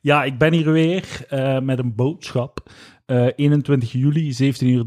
Ja, ik ben hier weer eh, met een boodschap. Eh, 21 juli, 17.30 uur,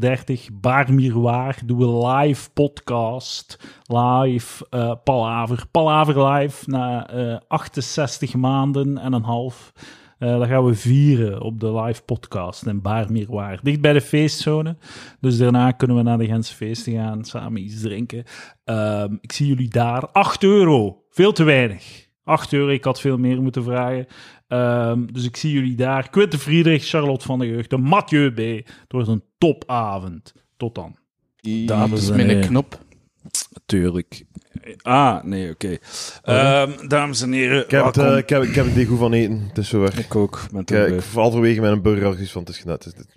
Bar Miroir, doen we live podcast, live eh, palaver. Palaver live na eh, 68 maanden en een half. Eh dat gaan we vieren op de live podcast in Bar Miroir, dicht bij de feestzone. Dus daarna kunnen we naar de Gentse feesten gaan, samen iets drinken. Ehm, ik zie jullie daar. 8 euro, veel te weinig. 8 euro, ik had veel meer moeten vragen. Ehm, dus ik zie jullie daar. Quinten Friedrich, Charlotte van der Jeugd, Mathieu B. Het wordt een topavond. Tot dan. Dames en met een heren. knop. Tuurlijk. Ah, nee, oké. Oh, Ehm, dames en heren, Ik heb, het, eh, welkom. ik, heb, ik heb het niet goed van eten. Het is zo weg. Ik, ik ook. Met eh, een ik val halverwege met een burger. al iets van, Het is, gedaan. het is, dit-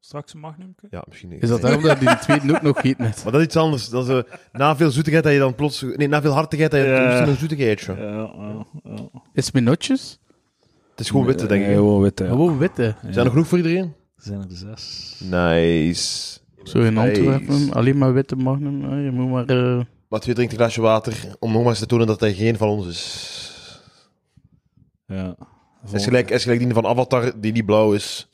Straks een magnum? ja, misschien niet. Is dat daarom dat hij die tweede noot nog giet net? Maar dat is iets anders. Dat is, eh, na veel zoetigheid dat je dan plots... Nee, na veel hartigheid dat je Ja. plots een zoetigheidje. Ja, ja, ja. Is het met notjes? Het is gewoon witte, denk ik. Gewoon witte. ja. Gewoon witte. Zijn er genoeg voor iedereen? Zijn er zes? Nice. Zo in Nice. Antwerpen, alleen maar witte magnum. hè. Je moet maar... eh, Mathieu drinkt een glaasje water om nog maar eens te tonen dat hij geen van ons is. Ja. Hij is gelijk, hij is gelijk die van Avatar, die niet blauw is.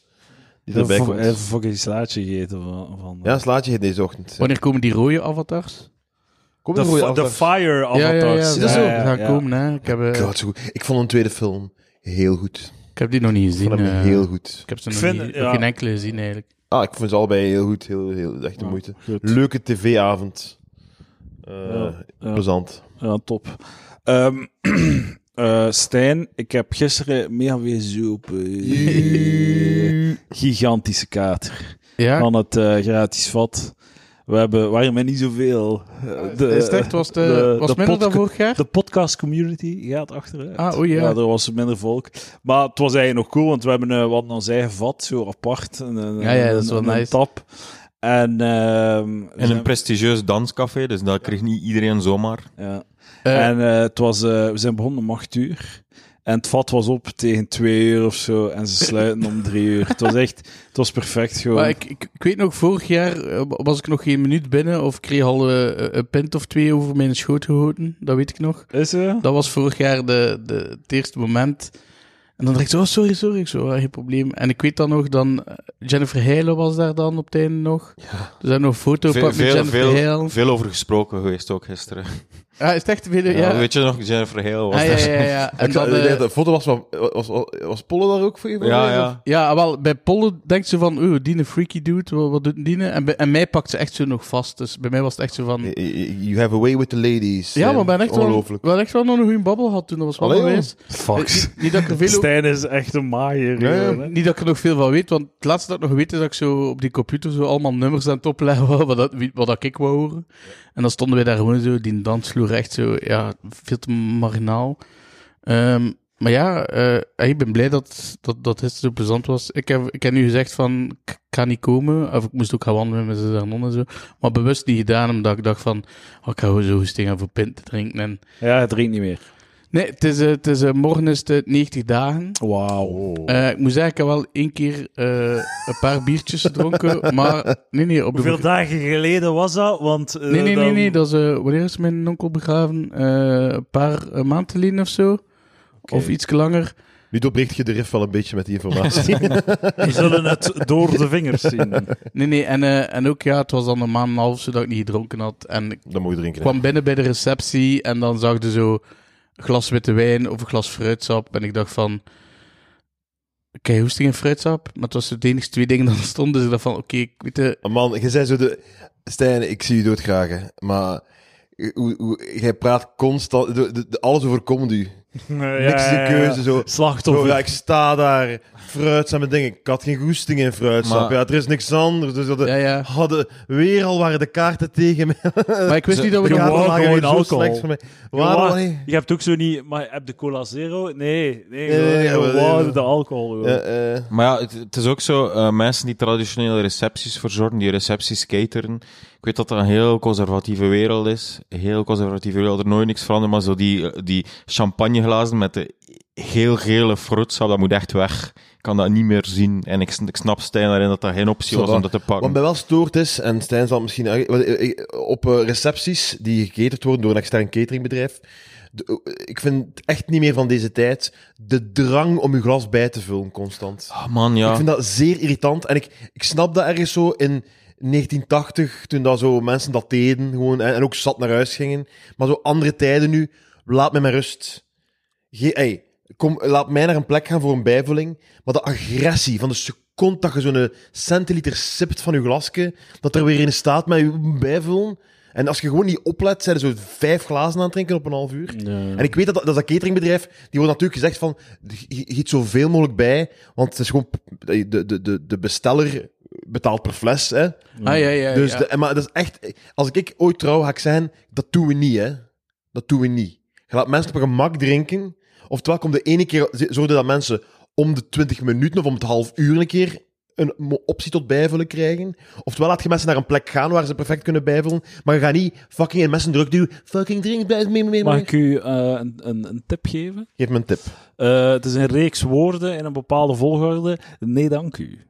Die Hij erbij heeft komt. eh, een fucking slaatje gegeten van... van Ja, slaatje heet deze ochtend. Wanneer komen die rode avatars? Kom de, een rode fi- de Avatar. Fire Ja, ja, ja. Avatars. Dat is zo. Ja, ja, Dat ja. gaat komen, hè. Ik heb, eh, God, zo goed. Ik vond een tweede film heel goed. ik heb die nog niet Ik vond gezien. hem eh. heel goed. Ik heb ze Ik nog, vind- niet, ja. nog geen enkele gezien, eigenlijk. Ah, ik vond ze allebei heel goed. Heel, heel, echt de Ja, moeite. goed. Leuke tv-avond. Eh, Ja, ja. Plezant. Ja, top. Ehm, eh, Stijn, ik heb gisteren meer weer zoepen. Gigantische kater Ja, van het eh, gratis vat. We hebben, waren met niet zoveel. Eh, de, is het echt? Was, de, de- was de minder dan podca- vorig jaar? De podcast community gaat achteruit. Ah, oei, ja. er was minder volk. Maar het was eigenlijk nog cool, want we hebben eh, we hadden ons eigen vat, zo apart. Een, een- Ja, ja, dat is een- wel een nice. tap. En, ehm, we In zijn- een prestigieus danscafé, dus dat kreeg niet iedereen zomaar. ja. Eh, en eh, het was, eh, we zijn begonnen om acht uur. En het vat was op tegen twee uur of zo. En ze sluiten om drie uur. Het was echt, het was perfect gewoon. Maar ik, ik, ik weet nog, vorig jaar eh, was ik nog geen minuut binnen of ik kreeg al eh, een pint of twee over mijn schoot gehouden. Dat weet ik nog. Is er? Dat was vorig jaar de, de, het eerste moment. En dan dacht ik zo, oh, sorry, sorry. Ik zo, ah, geen probleem. En ik weet dan nog, dan eh, Jennifer Heijlen was daar dan op het einde nog. Dus er zijn nog een foto Veel, gepakt met veel, Jennifer veel, Heijlen. veel over gesproken geweest ook gisteren. Ah, is het echt veel? Ja. Ja, weet je nog, Jennifer Hale was Ah, ja, daar. ja, ja. En Ik zag- dan, ik eh, dacht, de foto was van... Was, was, was Pollo daar ook voor je? Ja, ja. ja, wel, bij Pollen denkt ze van, oh, die een freaky dude, wat, wat doet die? En, bij- en mij pakt ze echt zo nog vast. Dus bij mij was het echt zo van... Eh, You have a way with the ladies. Ja, maar Eh, we hebben echt wel, Ongelooflijk. we hebben echt wel nog een goede babbel gehad toen. Dat was wel Allee, geweest. Eh, Fuck. Niet, niet dat ik er veel Stijn is echt een maaier. Ja, ja. gewoon, hè. niet dat ik er nog veel van weet, want het laatste dat ik nog weet is dat ik zo op die computer zo allemaal nummers aan het opleggen was, wat, dat, wie- wat dat ik wou horen. En dan stonden wij daar gewoon zo, die dansvloer echt zo, ja, veel te marginaal. Ehm, maar ja, eh, ik ben blij dat, dat, dat het zo plezant was. Ik heb, ik heb nu gezegd van, ik ga niet komen, of ik moest ook gaan wandelen met mijn non en zo. Maar bewust niet gedaan, omdat ik dacht van, oh, ik ga gewoon zo rustig gaan voor pint te drinken. En... Ja, het drinkt niet meer. Nee, het is, eh, het is, eh, morgen is het 90 dagen. Wauw. Eh, ik moet zeggen, ik heb wel één keer eh, een paar biertjes gedronken, maar... Nee, nee, op de... Hoeveel dagen geleden was dat? Want, eh, Nee, nee, nee, dan- nee, dat is... eh, wanneer is mijn onkel begraven? Eh, een paar eh, maanden geleden of zo. Of iets langer. Nu doorbreekt je de riff wel een beetje met die informatie. Die zullen het door de vingers zien. Nee, nee, en, eh, en ook ja, het was dan een maand en een half zodat ik niet gedronken had. En ik dan moet je drinken. hè. kwam binnen bij de receptie en dan zag je zo een glas witte wijn of een glas fruitsap. En ik dacht van... Oké, hoesting en fruitsap. Maar het was de enige twee dingen dat er stonden. Dus ik dacht van, oké, ik weet het... Ah, Man, je zei zo de... Stijn, ik zie je doodgraag, hè. Maar... eh, Hoe, hoe, jij praat constant... de- de- de- alles overkomt u. Ja, Niks ja, is de ja. keuze, zo. Slachtoffer. Bro, ja, ik sta daar, fruit aan mijn dingen. Ik had geen goesting in fruitsap. Maar- Ja, er is niks anders. Dus dat de- Ja, ja. hadden weer al waren de kaarten tegen mij. Maar ik wist Ze- niet dat we... De Je daar- wou kaarten lagen gewoon hier zo alcohol. slecht voor mij. Je Waarom? wou- nee? Je hebt ook zo niet... Maar heb de cola zero? Nee. Nee, Nee, nee, gewoon- nee, gewoon nee, nee. de alcohol. gewoon. Eh, eh, Maar ja, het, het is ook zo, eh, mensen die traditionele recepties verzorgen, die recepties cateren. Ik weet dat dat een heel conservatieve wereld is. Een heel conservatieve wereld, er nooit niks veranderen. Maar zo die, eh, die champagneglazen met de heel gele fruitsap, dat moet echt weg. Ik kan dat niet meer zien. En ik, sn- ik snap Stijn daarin dat dat geen optie was om dat te Wat pakken. mij wel stoort is, en Stijn zal misschien... eh, eh, eh, Op eh, recepties die gecaterd worden door een extern cateringbedrijf, de- ik vind het echt niet meer van deze tijd. De drang om je glas bij te vullen constant. Ah, man, ja. Ik vind dat zeer irritant. En ik, ik snap dat ergens zo in 1980, toen dat zo mensen dat deden gewoon, en, en ook zat naar huis gingen. Maar zo andere tijden nu, laat mij met rust. Ge ey, kom, laat mij naar een plek gaan voor een bijvulling. Maar de agressie van de seconde dat je zo'n centiliter sipt van je glasje, dat er weer in staat met je bijvullen. En als je gewoon niet oplet, zijn er zo vijf glazen aan het drinken op een half uur. En ik weet dat dat, dat, dat cateringbedrijf, die wordt natuurlijk gezegd van, gi- giet zoveel mogelijk bij, want het is gewoon, p- de, de, de, de besteller betaalt per fles, hè. Eh, Ah, ja, ja. dus ja. De, en maar dat is echt, als ik ooit trouw ga ik zeggen, dat doen we niet, hè. Dat doen we niet. Je laat mensen op hun gemak drinken, oftewel komt de ene keer, z- zorg dat mensen om de 20 minuten of om het half uur een keer een mo- optie tot bijvullen krijgen. Oftewel laat je mensen naar een plek gaan waar ze perfect kunnen bijvullen, maar je gaat niet fucking in mensen druk duwen, fucking drink, blijf mee, mee, Mag mee. ik u eh, een, een, een tip geven? Geef me een tip. Eh, het is een reeks woorden in een bepaalde volgorde. Nee, dank u.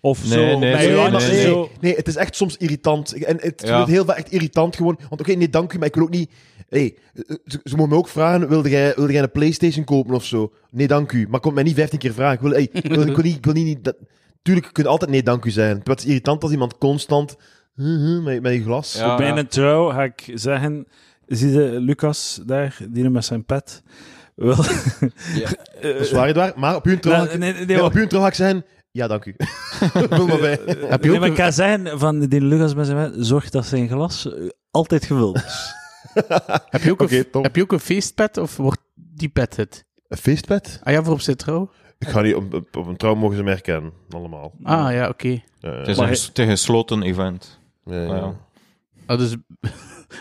Of Nee, zo. nee, met nee, langs maar nee, zo. nee, nee, het is echt soms irritant. Ik- En het Ja. wordt heel vaak echt irritant gewoon. Want oké, nee, dank u, maar ik wil ook niet... Hey, eh, ze, ze mogen me ook vragen, wilde jij, wilde jij een Playstation kopen of zo? Nee, dank u. Maar kom mij niet 15 keer vragen. Ik wil, hey, ik wil, ik wil niet... Ik wil niet, niet dat, tuurlijk, je kunt altijd nee, dank u zeggen. Het is irritant als iemand constant... "Huh, huh," met, met je glas. Ja, Bij ja. een trouw ga ik zeggen... Zie je Lucas daar, die met zijn pet? Wel, Dat is waar, het waar. Maar op uw trouw... ga nou, ik- nee, nee, nee, nee, op uw trouw ga ik zeggen... Ja, dank u. Vul maar bij. Heb je nee, ook maar een- ik ga zeggen van die Lucas met zijn pet, zorg dat zijn glas eh, altijd gevuld is. Heb je ook Oké, een- top. heb je ook een feestpet of wordt die pet het? Een feestpet? Ah ja, voor op Citro? Ik ga niet... Op, op, op een trouw mogen ze me herkennen. Allemaal. Ah ja, oké. Eh, Het is Maar een ges- het is een gesloten event. ja, Ah, ja. ja. Ah, dus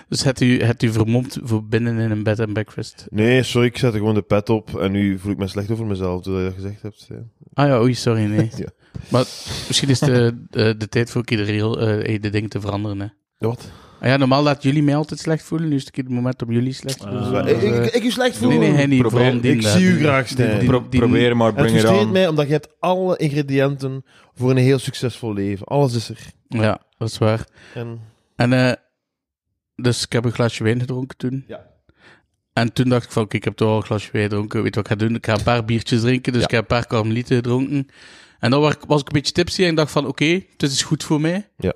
dus hebt, u, hebt u vermomd voor binnen in een bed and breakfast? Nee, sorry, ik zette gewoon de pet op en nu voel ik me slecht over mezelf doordat je dat gezegd hebt. Ja. Ah ja, oei, sorry, nee. Ja. Maar misschien is de, de, de tijd voor een keer de, regel, eh, de dingen te veranderen, hè. Wat? Ah ja, normaal laat jullie mij altijd slecht voelen. Nu is het een keer het moment om jullie slecht te Ah. voelen. Ik- ik- Dus Eh, ik u slecht nee, nee, hij niet. Probeer- vooral die ik daar. zie u graag, Stijn. die- Pro- Probeer maar, En het bring it frustreert on. mij, omdat je hebt alle ingrediënten voor een heel succesvol leven. Alles is er. Ja, dat is waar. En... En eh, dus ik heb een glaasje wijn gedronken toen. Ja. En toen dacht ik van, oké, ik heb toch al een glasje wijn gedronken. Weet je wat ik ga doen? Ik ga een paar biertjes drinken. Dus ik heb een paar karmelieten gedronken. En dan was ik, was ik een beetje tipsy en ik dacht van, oké, dit is goed voor mij. Ja.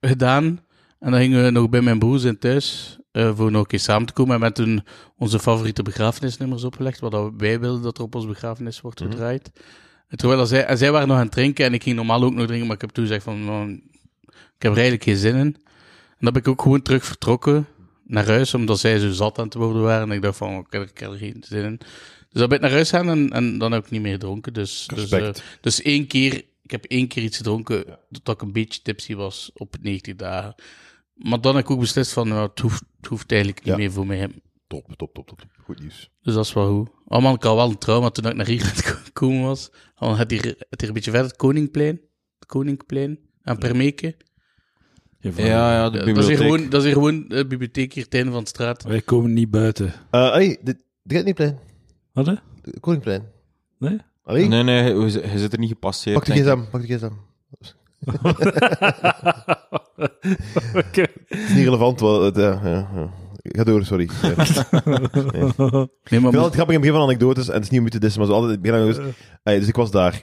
Gedaan. En dan gingen we nog bij mijn broers in thuis eh, voor nog een keer samen te komen. En met toen onze favoriete begrafenisnummers opgelegd. Wat dat wij wilden dat er op onze begrafenis wordt Mhm. gedraaid. En terwijl dat zij, en zij waren nog aan het drinken en ik ging normaal ook nog drinken. Maar ik heb toen gezegd van, man, ik heb er eigenlijk geen zin in. En dan ben ik ook gewoon terug vertrokken naar huis, omdat zij zo zat aan het worden waren. En ik dacht van, ik heb, er- ik heb er geen zin in. Dus dan ben ik naar huis gaan en, en dan heb ik niet meer gedronken. Dus, dus, eh, Respect. dus één keer, ik heb één keer iets gedronken, dat ik een beetje tipsy was op 90 dagen. Maar dan heb ik ook beslist van, nou, het, hoeft, het hoeft eigenlijk niet Ja. meer voor mij. Top, top, top, top. Goed nieuws. Dus dat is wel goed. Oh man, ik had wel een trauma toen ik naar hier aan het gekomen was. Oh, Dan had hier, had hier een beetje verder het Koningplein, het Koninkplein aan Permeke. Ja, ja, de Dat is, hier bibliotheek. gewoon, dat is hier gewoon de bibliotheek hier ten van de straat. Wij komen niet buiten. Eh hey, dit, dit gaat niet plein. Wat hè? Koningplein. Nee? Allee, Nee, nee, je, je zit er niet gepasseerd. pak de denk ik. gsm, pak de gsm. Oké. Het is niet relevant, wel, het, ja, ja, ja. Ga door, sorry. Ja. Nee, maar Ik vind het altijd grappig in het begin van anekdotes, en het is niet om u te dissen, maar zo altijd in het begin van anekdotes. Hey, dus ik was daar.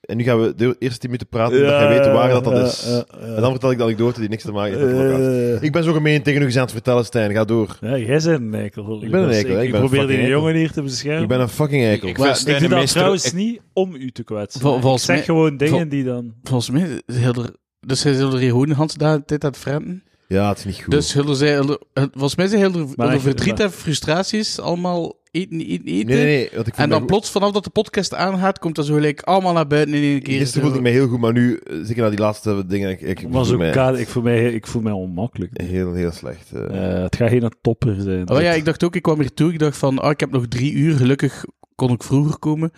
En nu gaan we de eerste 10 minuten praten, dat jij weet waar dat, dat Ja, is. ja, ja. En dan vertel ik de anekdote die niks te maken heeft met de locatie. Eh, Ik ben zo gemeen tegen u gezegd aan het vertellen, Stijn. Ga door. Ja, jij bent een eikel. Ik ben een eikel, hè. Ik, Ik ben een probeer die fucking eikel. jongen hier te beschermen. Ik ben een fucking Ik, eikel. ik Maar vind ik Ik Stijn doe een dat meester... trouwens niet om u te kwetsen. Vol- ik volgens zeg mij- gewoon dingen vol- die dan... volgens mij is heel er, dus zij zullen hier gewoon de hele tijd tijd aan het vreemden. Ja, het is niet goed. Dus zullen zij, heel er- volgens mij zijn heel er- heel er echt, verdriet maar- en frustraties allemaal eten, eten, eten. nee, nee, nee. Want ik voel En me dan goed- plots, vanaf dat de podcast aangaat, komt dat zo gelijk allemaal naar buiten in één keer. Gisteren voelde ik me heel goed, maar nu, eh, zeker na die laatste dingen, ik, ik Ik, was voel ook mij kaal, ik, voel mij, ik voel mij onmakkelijk. heel, heel slecht. eh. Eh, het gaat geen topper zijn. Oh ja, ik dacht ook, ik kwam hier toe. Ik dacht van, ah, ik heb nog drie uur. Gelukkig kon ik vroeger komen.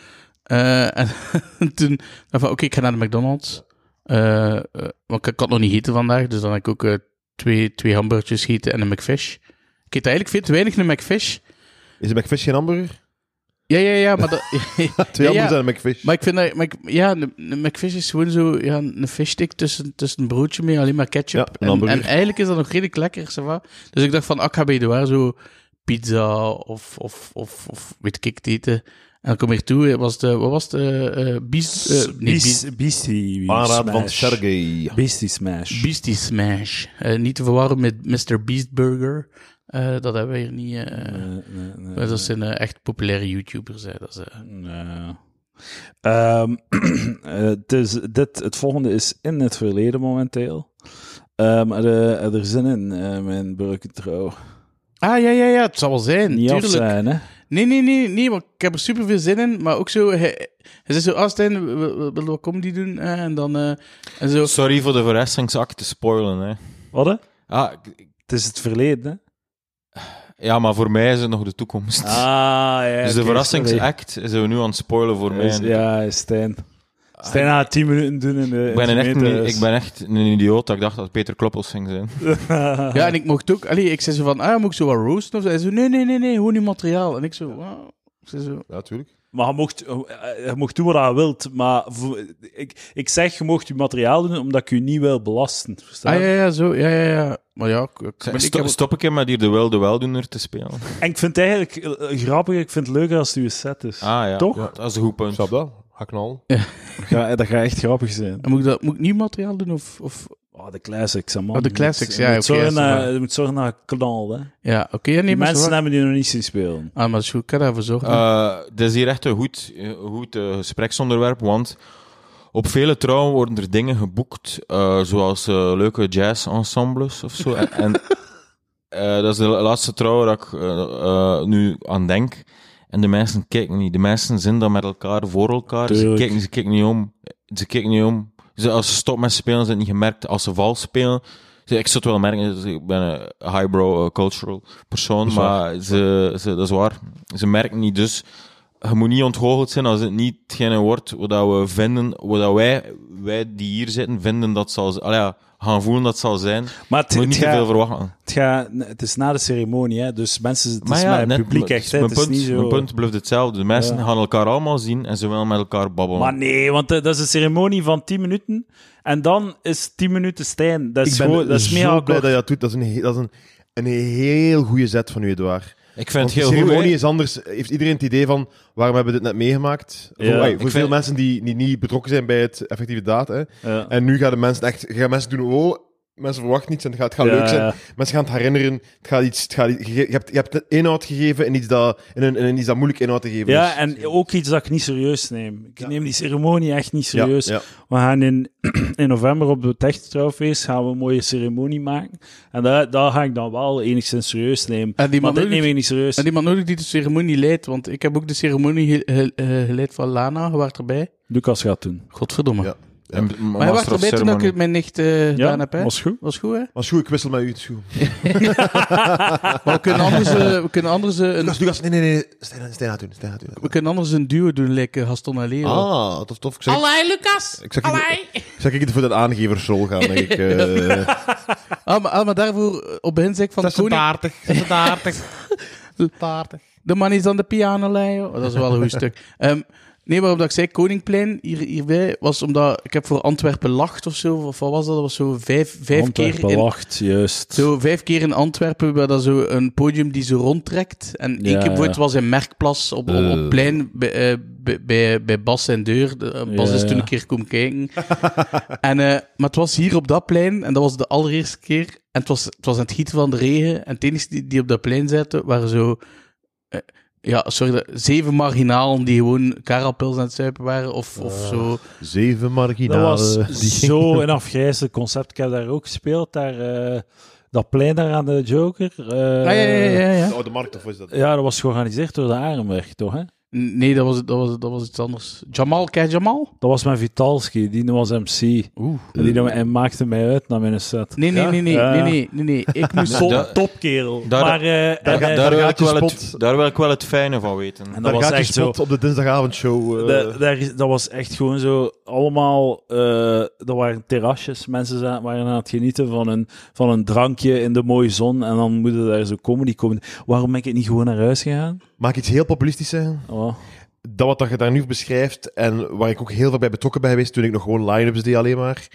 Eh, en toen dacht ik van, oké, ik ga naar de McDonald's. Eh, eh, want ik, ik had nog niet gegeten vandaag. Dus dan heb ik ook eh, twee, twee hamburgertjes gegeten en een McFish. Ik eet eigenlijk veel te weinig een McFish. Is een McFish geen hamburger? Ja, ja, ja, maar dat... Twee ja, ja. hamburgers en een McFish. Maar ik vind dat... Maar ik- ja, een, een McFish is gewoon zo... Ja, een fishstick tussen, tussen een broodje mee, alleen maar ketchup. Ja, een en, hamburger. en eigenlijk is dat nog redelijk lekker, ça va. Dus ik dacht van, ah, ik ga bij de waar zo pizza of, of, of, of weet ik het eten. En dan kom ik toe, eh, was de, wat was het? eh, eh, bies, eh, nee, bies- Beastie- Beastie Aanraad van Smash. Sergey. Beastie Smash. Beastie Smash. Eh, niet te verwarren met Mr. Beast Burger. Eh, dat hebben we hier niet. eh, Eh, nee, nee, dat zijn eh, echt populaire YouTubers. Hè. Dat is, eh, nee. Ehm, eh, het is- dit, het volgende is in het verleden momenteel. Ehm er, eh, er zin in, eh, mijn bruikentrouw. Ah, ja, ja, ja, het zal wel zijn. Niet af tuurlijk. zijn, hè? Nee, nee, nee, nee, want ik heb er super veel zin in. Maar ook zo, hij, hij zei zo, ah, Stijn, we- we- we willen wat comedy doen? eh, en dan, eh, en zo. Sorry voor de verrassingsakt te spoilen, hè. Wat? hè? Ah, ik- ik- Het is het verleden, hè? ja, maar voor mij is het nog de toekomst. Ah, ja. dus de oké, sorry. verrassingsact zijn we nu aan het spoilen voor mij. Is- Ja, Stijn. Stijn gaat 10 minuten doen in de. dus- ik, ben in een de echt een, meters. ik ben echt een idioot dat ik dacht dat het Peter Kloppels ging zijn. Ah. Ja, en ik mocht ook, allee, ik zei zo van, ah, moet ik zo wat roosten? Of zo? Hij zo, nee, nee, nee, nee, gewoon uw materiaal. En ik zo, wow. Ik zei zo, Ja, tuurlijk. Maar je mocht, je mocht doen wat je wilt, maar voor- ik, ik zeg, je mocht je materiaal doen omdat ik je niet wil belasten. Verstaan? ah, ja, ja, zo, ja, ja, ja. Maar ja, ik, ik, Zeg, maar ik sto- heb- stop ik hem met hier de wel de weldoener te spelen? En ik vind het eigenlijk eh, grappiger, ik vind het leuker als het uw set is. Ah ja, Toch? dat is een goed punt. Snap dat? Ga knallen. Ja, dat gaat echt grappig zijn. en moet ik, dat, moet ik nieuw materiaal doen? Of, of Oh, de classics, hè, man. Oh, de Je classics, moet, ja, Je moet oké, zorgen dat is naar- waar. je moet zorgen naar knal, hè. ja, oké, ja, nee, Die maar mensen zo- hebben die nog niet zien spelen. Ah, maar dat is goed, ik kan daarvoor zorgen. Eh, dit is hier echt een goed, een goed eh, gespreksonderwerp, want op vele trouwen worden er dingen geboekt, eh, zoals eh, leuke jazz-ensembles of zo. en en, eh, dat is de laatste trouw dat ik eh, eh, nu aan denk. En de mensen kijken niet. De mensen zijn dan met elkaar voor elkaar. Ze Tuurlijk. kijken, ze kijken niet om. Ze kijken niet om. Ze, als ze stoppen met spelen, zijn het niet gemerkt. Als ze vals spelen... ze- Ik zou het wel merken, dus ik ben een highbrow eh, cultural persoon, maar ze, ze, dat is waar. Ze merken niet, dus je moet niet ontgoocheld zijn als het niet hetgene wordt wat dat we vinden, wat dat wij, wij die hier zitten, vinden dat zal zijn. Allee, ja, gaan voelen dat zal zijn. Maar het, Je moet het, niet te gaat- veel verwachten. het, gaat- het is na de ceremonie, hè. Dus mensen, het is met het publiek maar- echt, hè. Mijn Het is punt, niet zo... mijn punt blijft hetzelfde. De mensen Ja. gaan elkaar allemaal zien en ze willen met elkaar babbelen. Maar nee, want eh, dat is een ceremonie van 10 minuten. En dan is 10 minuten Stijn. Dat is, Ik ben gewoon, dat is zo mega blij kort. dat je dat doet. Dat is een, he- dat is een, een heel goede zet van u, Edouard. ik vind het Want de heel goed. ceremonie hè. is anders. Heeft iedereen het idee van waarom hebben we dit net meegemaakt? Ja, voor hey, ik voor veel vind- mensen die, die niet betrokken zijn bij het effectieve daad. Hè. Ja. En nu gaan de mensen echt gaan mensen doen, oh, mensen verwachten niets en het gaat, het gaat Ja, leuk zijn. ja. Mensen gaan het herinneren. Het gaat iets, het gaat, iets- je, je hebt, je hebt inhoud gegeven in iets, dat, in, een, in iets dat moeilijk inhoud te geven Ja, is. en ook iets dat ik niet serieus neem. Ik neem die ceremonie echt niet Ja, serieus. ja. We gaan in, in november op de Tech Trouwfeest gaan we een mooie ceremonie maken. En dat, dat ga ik dan wel enigszins serieus nemen. En die maar dit man- neem ik niet serieus. En iemand nodig die de ceremonie leidt, want ik heb ook de ceremonie ge- ge- eh, geleid van Lana, je was erbij. Lucas gaat doen. Godverdomme. Ja. En- Maar hij was Master of erbij toen ik Ceremony. het mijn nicht eh Ja, gedaan heb, hè? was goed. Was goed, hè? Maar is goed, ik wissel met u. Het is goed. Maar we kunnen anders, eh, we kunnen anders, eh, een, Lucas, Lucas, nee, nee, nee. Stijn, Stijn gaat doen. Stijn gaat doen. we kunnen anders een duo doen, like eh, Gaston en Leo. Ah, tof, tof. Ik zeg, Allee, Lucas. ik zeg, Allee. ik zeg ik voor dat aangeversrol gaan, denk ik. eh. Ah, maar, ah, maar daarvoor, eh, op begin zeg ik van koning, 86, 86, 86. de man is aan de piano, Leo. Oh, dat is wel een goed stuk. Ehm, nee, waarom dat ik zei Koningplein hier, hierbij, was omdat ik heb voor Antwerpen lacht of zo, of wat was dat? Dat was zo vijf, vijf keer Antwerpen in, wacht, juist. Zo vijf keer in Antwerpen, waar dat zo een podium die zo rondtrekt. En één Ja, keer bijvoorbeeld ja. was in Merkplas, op, op, op het plein, bij, eh, bij, bij, bij Bas en Deur. De- eh, Bas Ja, is toen ja. een keer komen kijken. en, eh, maar het was hier op dat plein, en dat was de allereerste keer. En het was, het was aan het gieten van de regen. En het enige die, die op dat plein zaten, waren zo... eh, ja, sorry, dat- zeven marginalen die gewoon karapils aan het zuipen waren. Of, Ah. of zo... Zeven Dat marginalen. was eh, die- zo'n afgrijzelijk concept. Ik heb daar ook gespeeld, daar, eh, dat plein daar aan de Joker. eh, Ah, ja, ja, ja, ja. Oh, de markt, of is dat? ja, dat was georganiseerd door de Arenberg, toch? Hè? Nee, dat was, het- dat, was, het- dat was iets anders. Jamal, ken je Jamal? Dat was met Vitalski, die was MC. Oeh. En die nam- hij maakte mij uit naar mijn set. Nee, nee, Ja? nee, nee, Ja. nee, nee, nee, nee. Ik moest Nee, zo... dat- Topkerel. Daar- maar, eh, en, Daar, eh, daar, wil ik gaat je wel het, spot. daar wil ik wel het fijne van weten. en dat Daar was gaat je echt zo. spot op de dinsdagavondshow. eh. da- daar is- dat was echt gewoon zo. Allemaal, eh er waren terrasjes. Mensen za- waren aan het genieten van een, van een drankje in de mooie zon. En dan moeten daar zo comedy komen. Waarom ben ik niet gewoon naar huis gegaan? Mag ik iets heel populistisch zeggen? Oh. Dat wat dat je daar nu beschrijft en waar ik ook heel veel bij betrokken ben geweest toen ik nog gewoon line-ups deed alleen maar.